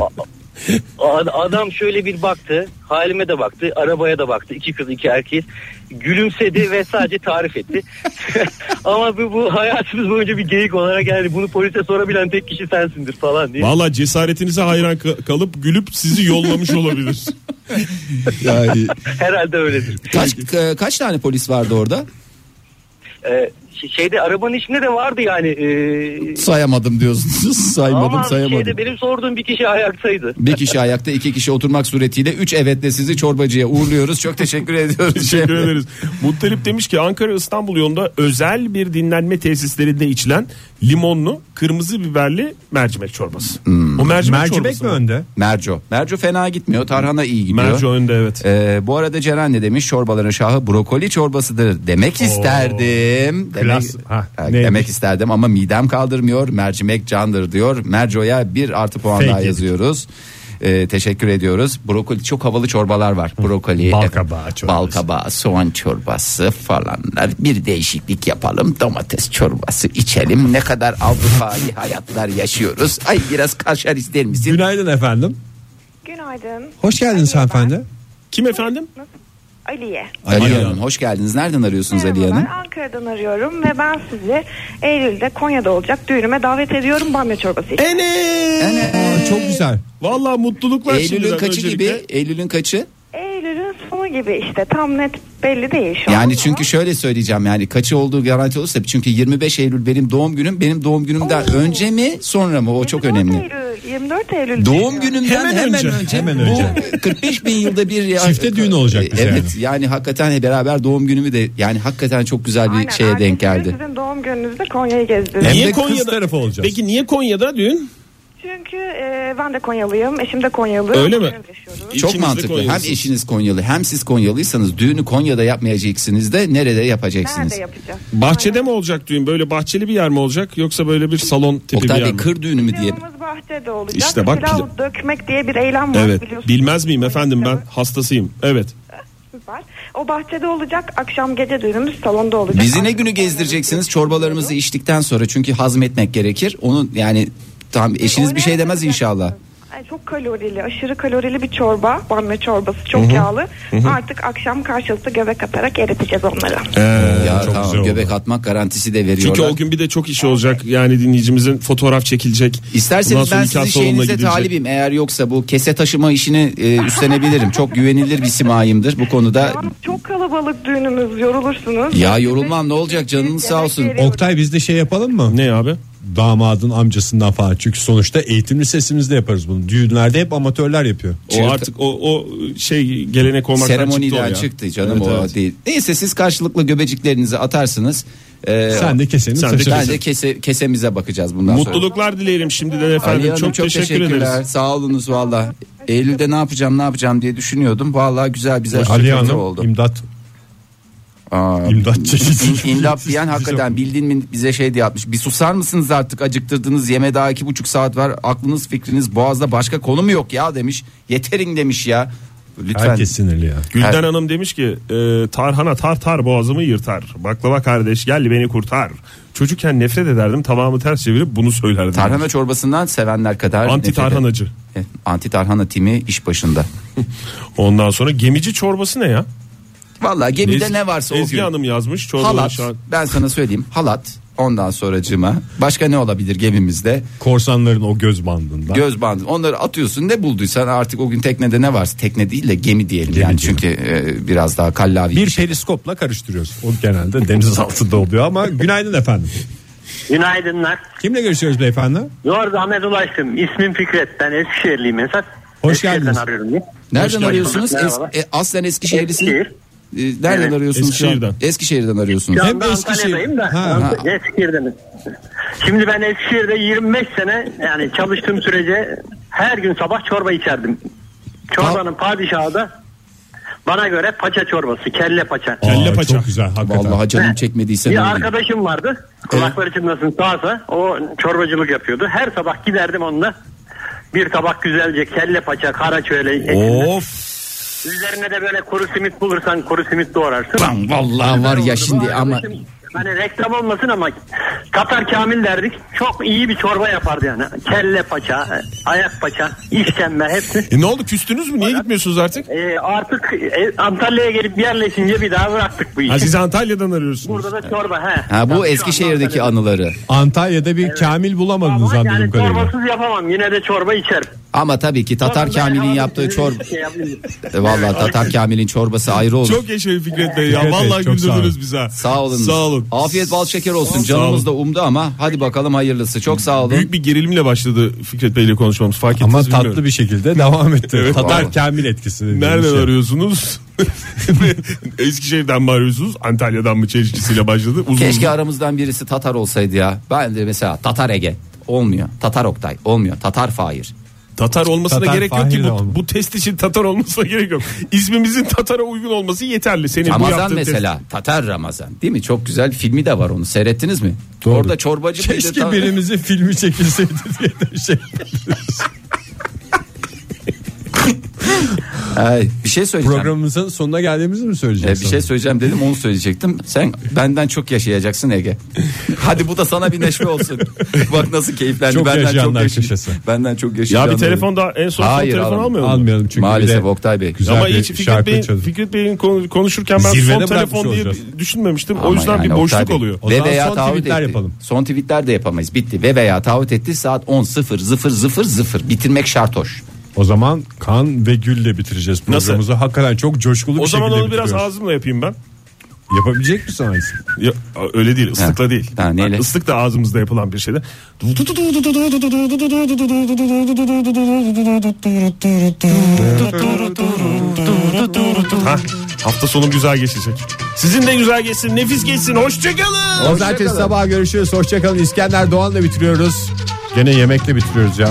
N: Ad- Adam şöyle bir baktı halime de baktı arabaya da baktı iki kız iki erkek gülümsedi ve sadece tarif etti. Ama bu, bu hayatımız boyunca bir geyik olarak yani bunu polise sorabilen tek kişi sensindir falan diye.
E: Valla cesaretinize hayran ka- kalıp gülüp sizi yollamış olabilir.
N: Herhalde öyledir.
D: Kaç ka- kaç tane polis vardı orada?
N: Ee, ş- şeyde arabanın içinde de vardı yani. ee,
D: Sayamadım diyorsunuz. Saymadım
N: ama
D: sayamadım.
N: şeyde benim sorduğum bir kişi ayaktaydı.
D: Bir kişi ayakta iki kişi oturmak suretiyle üç evetle sizi çorbacıya uğurluyoruz. Çok teşekkür ediyoruz.
E: Teşekkür
D: Cem Bey.
E: ederiz. Muttalip demiş ki Ankara İstanbul yolunda özel bir dinlenme tesislerinde içilen limonlu kırmızı biberli mercimek çorbası.
D: Hmm.
E: O mercimek,
C: Mercimek
E: çorbası
C: mi
E: mı?
C: önde?
D: Merco. Merco fena gitmiyor. Tarhana iyi gidiyor.
E: Merci önde evet.
D: Ee, bu arada Ceren ne demiş? Çorbaların şahı brokoli çorbasıdır demek isterdim.
C: klas.
D: Demek,
C: Ha,
D: Ha,
C: neymiş?
D: demek isterdim ama midem kaldırmıyor. Mercimek candır diyor. Merco'ya bir artı puan
C: Fake
D: daha
C: yedik.
D: yazıyoruz. Ee, teşekkür ediyoruz. Brokoli çok havalı çorbalar var. Brokoli,
C: Bal
D: e,
C: kabağı çorbası.
D: bal kabağı, soğan çorbası falanlar. Bir değişiklik yapalım. Domates çorbası içelim. Ne kadar Avrupa'yı hayatlar yaşıyoruz. Ay biraz kaşar ister misin?
C: Günaydın efendim.
P: Günaydın.
D: E-
C: Hoş geldiniz hanımefendi.
E: Kim efendim?
P: Aliye.
D: Aliye Hanım hoş geldiniz. Nereden arıyorsunuz Aliye Hanım?
P: Ben Ankara'dan arıyorum ve ben sizi Eylül'de Konya'da olacak düğünüme davet ediyorum bamya çorbası için.
I: Çok güzel.
E: Vallahi mutluluklar
D: Eylül'ün
E: şimdiden
D: kaçı
E: öncelikle.
D: gibi? Eylül'ün kaçı?
P: Eylül'ün sonu gibi işte tam net belli değil şu an.
D: Yani çünkü şöyle söyleyeceğim yani kaçı olduğu garanti olursa çünkü 25 Eylül benim doğum günüm. Benim doğum günümden önce mi sonra mı o çok önemli.
P: Eylül, 24 Eylül.
D: Doğum günümden hemen, önce.
I: Hemen
D: bu
I: önce.
D: 45 bin yılda bir ya.
I: Çifte düğün olacak bize
D: Evet yani. hakikaten beraber doğum günümü de yani hakikaten çok güzel bir şeye denk geldi.
P: Sizin doğum gününüzde Konya'yı gezdim.
D: Hem Niye de kız Konya'da- tarafı olacağız.
E: Peki niye Konya'da düğün?
P: Çünkü e, ben de Konyalıyım, eşim de Konyalı.
D: Öyle mi?
P: Konya'da yaşıyoruz.
D: Çok
E: İkiniz de
D: mantıklı. Hem
E: Konyalısınız.
D: eşiniz Konyalı hem siz Konyalıysanız düğünü Konya'da yapmayacaksınız da nerede yapacaksınız?
P: Nerede yapacağız?
E: Bahçede mi olacak düğün? Böyle bahçeli bir yer mi olacak yoksa böyle bir salon tipi
D: Oktay
E: bir yer
D: Bey,
E: mi?
D: kır düğünü mü diye.
P: Pilavımız bahçede olacak.
E: İşte bak
P: Pilav
E: pil-
P: dökmek diye bir eylem var
E: Evet.
P: biliyorsunuz.
E: Bilmez miyim efendim ben hastasıyım. Evet.
P: Süper. O bahçede olacak. Akşam gece düğünümüz salonda olacak.
D: Bizi ne günü gezdireceksiniz? Çorbalarımızı içtikten sonra çünkü hazmetmek gerekir. Onun yani tam eşiniz bir şey demez inşallah.
P: Ay, çok kalorili, aşırı kalorili bir çorba. Bamya çorbası çok
D: Hı hı.
P: yağlı.
D: Hı hı.
P: Artık akşam karşılıklı göbek atarak eriteceğiz onları.
D: ya
E: Ee, çok güzel
D: tamam
E: oldu.
D: göbek atmak garantisi de veriyorlar.
E: Çünkü o gün bir de çok iş olacak. Yani dinleyicimizin fotoğraf çekilecek. Ondan
D: İsterseniz
E: sonra
D: ben
E: nikah
D: sizin
E: salonuna
D: şeyinize
E: gidilecek.
D: talibim. Eğer yoksa bu kese taşıma işini e, üstlenebilirim. Çok güvenilir bir simayimdir bu konuda.
P: Çok kalabalık düğünümüz yorulursunuz.
D: Ya yorulmam ne olacak canınız sağ olsun.
C: Oktay biz de şey yapalım mı?
E: Ne abi?
C: Damadın amcasından falan. Çünkü sonuçta eğitimli sesimizde yaparız bunu. Düğünlerde hep amatörler yapıyor.
E: O artık o, o şey gelenek olmaktan çıktı o
D: Seremoniden
E: ya.
D: çıktı canım
E: Evet,
D: o
E: evet.
D: değil. Neyse siz karşılıklı göbeciklerinizi atarsınız. Ee,
C: Sen de keseni
D: sen
C: taşırsın.
D: Ben de kese, kesemize bakacağız bundan sonra.
E: Mutluluklar dileyelim şimdiden efendim.
D: Ali Hanım,
E: çok, teşekkür ederiz.
D: Sağ olunuz valla. Eylül'de ne yapacağım ne yapacağım diye düşünüyordum. Valla güzel bize
C: Ali
D: sürpriz
C: Hanım
D: oldu.
C: imdat.
D: Aa,
C: İmdat çeşidi.
D: İn- İndap diyen hakikaten bildiğin mi bize şey diye atmış. Bir susar mısınız artık acıktırdınız yeme daha iki buçuk saat var. Aklınız fikriniz boğazda başka konu mu yok ya demiş. Yeterin demiş ya. Lütfen.
C: Herkes sinirli ya.
E: Gülden Hanım demiş ki e, tarhana tartar boğazımı yırtar. Baklava kardeş gel beni kurtar. Çocukken nefret ederdim tamamı ters çevirip bunu söylerdim.
D: Tarhana çorbasından sevenler kadar.
E: Anti
D: nefret-
E: tarhanacı.
D: Evet, Anti tarhana timi iş başında.
E: Ondan sonra gemici çorbası ne ya?
D: Valla gemide
E: Ezgi-
D: ne varsa o
E: Ezgi
D: gün.
E: Hanım yazmış çorbanın
D: Halat.
E: şu an-
D: Ben sana söyleyeyim. Halat. Ondan sonracığıma. Başka ne olabilir gemimizde?
C: Korsanların o göz bandından.
D: Göz bandı. Onları atıyorsun ne bulduysan artık o gün teknede ne varsa tekne değil de gemi diyelim yani çünkü e, biraz daha kallavi.
C: bir şey- periskopla karıştırıyoruz. O genelde deniz altında oluyor ama günaydın efendim.
O: Günaydınlar.
C: Kimle görüşüyoruz beyefendi?
O: Yordu Ahmet Ulaştım. İsmim Fikret. Ben Eskişehirliyim Esat.
C: Hoş
O: Eskişehir'den
C: geldiniz.
O: arıyorum ya.
D: Nereden
O: Hoş geldiniz.
D: arıyorsunuz? Es,
O: Merhabalar.
D: e, aslen Eskişehirlisin.
O: Eskişehir.
D: E, nereden
O: Evet.
D: arıyorsunuz şu an?
E: Eskişehir'den.
D: Eskişehir'den arıyorsunuz.
O: Şu anda Antalya'dayım da.
D: Ha.
O: Ant- Eskişehir'den. Şimdi ben Eskişehir'de 25 sene yani çalıştığım sürece her gün sabah çorba içerdim. Çorbanın padişahı da bana göre paça çorbası, kelle paça.
C: Kelle paça. Çok güzel hakikaten.
D: Vallahi canım çekmediyse ne
O: Bir
D: diyeyim.
O: arkadaşım vardı. Kulakları çınlasın sağsa. O çorbacılık yapıyordu. Her sabah giderdim onunla. Bir tabak güzelce kelle paça, kara çöle.
C: Of.
O: Üzerine de böyle kuru simit bulursan kuru simit doğrarsın.
D: Lan vallahi var ya şimdi ama
O: Hani reklam olmasın ama Tatar Kamil derdik. Çok iyi bir çorba yapardı yani. Kelle paça, ayak paça, işkembe hepsi.
E: E, ne oldu küstünüz mü? Niye gitmiyorsunuz artık?
O: Ee, artık e, Antalya'ya gelip yerleşince bir daha bıraktık bu işi.
E: Ha, siz Antalya'dan arıyorsunuz.
O: Burada da çorba he.
D: ha bu Eskişehir'deki anıları.
C: Antalya'da bir Kamil bulamadınız anladığım
O: Yani
C: kadarıyla.
O: çorbasız yapamam. Yine de çorba içerim.
D: Ama tabii ki Tatar Kamil'in yaptığı çorba.
O: Şey yapayım.
D: E, Vallahi Tatar Kamil'in çorbası ayrı olur.
E: Çok yaşayın Fikret Bey ya.
C: Fikret Bey,
E: Vallahi
C: çok sağ
E: güldürdünüz
C: olun.
E: bizi ha.
D: Sağ olun.
E: Sağ olun.
D: Afiyet bal şeker olsun.
E: olun.
D: Canımız da umdu ama hadi bakalım hayırlısı. Çok sağ olun.
E: Büyük bir gerilimle başladı Fikret Bey ile konuşmamız. Fark ettiniz
C: Ama
E: mi
C: tatlı
E: bilmiyorum.
C: bir şekilde devam etti.
E: Evet.
C: Tatar
E: Vallahi.
C: Kamil etkisi.
E: Nereden
C: Şey.
E: arıyorsunuz? Eskişehir'den mi arıyorsunuz? Antalya'dan mı çelişkisiyle başladı? Uzun
D: Keşke
E: uzun.
D: aramızdan birisi Tatar olsaydı ya. Ben de mesela Tatar Ege olmuyor. Tatar Oktay olmuyor. Tatar Fahir.
E: Tatar olmasına
C: Tatar
E: gerek yok ki
C: Fahir'le
E: bu,
C: olmuş.
E: bu test için Tatar olmasına gerek yok. İsmimizin Tatar'a uygun olması yeterli. Senin E, bu
D: Ramazan
E: yaptığın
D: mesela. Tatar Ramazan. Değil mi? Çok güzel filmi de var onu. Seyrettiniz mi? Orada çorbacı mıydı?
C: Keşke
D: Ta-
C: birimizin filmi çekilseydi diye de şey.
D: Ay, bir şey söyleyeceğim.
I: Programımızın sonuna geldiğimizi mi
D: Ee,
I: söyleyeceksin?
D: bir şey söyleyeceğim dedim onu söyleyecektim. Sen benden çok yaşayacaksın Ege. Hadi bu da sana bir neşve olsun. Bak nasıl keyiflendi.
I: Çok
D: benden çok
I: yaşayanlar
D: yaşay-
I: köşesi.
D: Benden çok
E: Ya
D: yaşayanlar.
E: bir telefon daha en son son
D: Hayır,
E: telefon
D: alalım.
E: almıyor mu?
I: Almayalım çünkü
D: Maalesef
I: bir de
D: Oktay Bey.
I: Güzel
E: Ama
I: bir
E: hiç Fikret
I: şarkı
E: Bey'in,
I: çalın.
E: Fikret Bey'in konu- konuşurken ben
I: Zirvede
E: son
I: bırakmış
E: telefon diye
I: olacağız.
E: düşünmemiştim. o
D: Ama
E: yüzden
D: yani
E: bir boşluk
D: Oktay Bey.
E: oluyor.
D: Ve veya
I: son
D: taahhüt
I: tweetler
D: etti.
I: yapalım.
D: Son tweetler de yapamayız. Bitti. Ve veya taahhüt etti saat 10 0 0 0 0. Bitirmek şart hoş.
C: O zaman kan ve gülle bitireceğiz programımızı. Hakikaten çok coşkulu
E: O
C: bir şekilde
E: zaman onu biraz
C: bitiriyoruz.
E: ağzımla yapayım ben.
C: Yapabilecek misin aynısını?
E: Ya, öyle değil ıslıkla değil.
D: Ha, neyle?
E: Islık da ağzımızda yapılan bir şeyde. Ha, hafta sonu güzel geçecek. Sizin de güzel geçsin, nefis geçsin. Hoşçakalın.
I: Pazartesi sabah görüşürüz. Hoşçakalın. İskender Doğan'la bitiriyoruz.
C: Gene yemekle bitiriyoruz ya.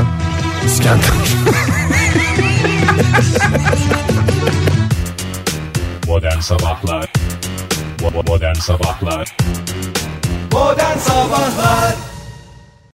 A: Modern Sabahlar Bo- bo- Modern Sabahlar
H: Modern Sabahlar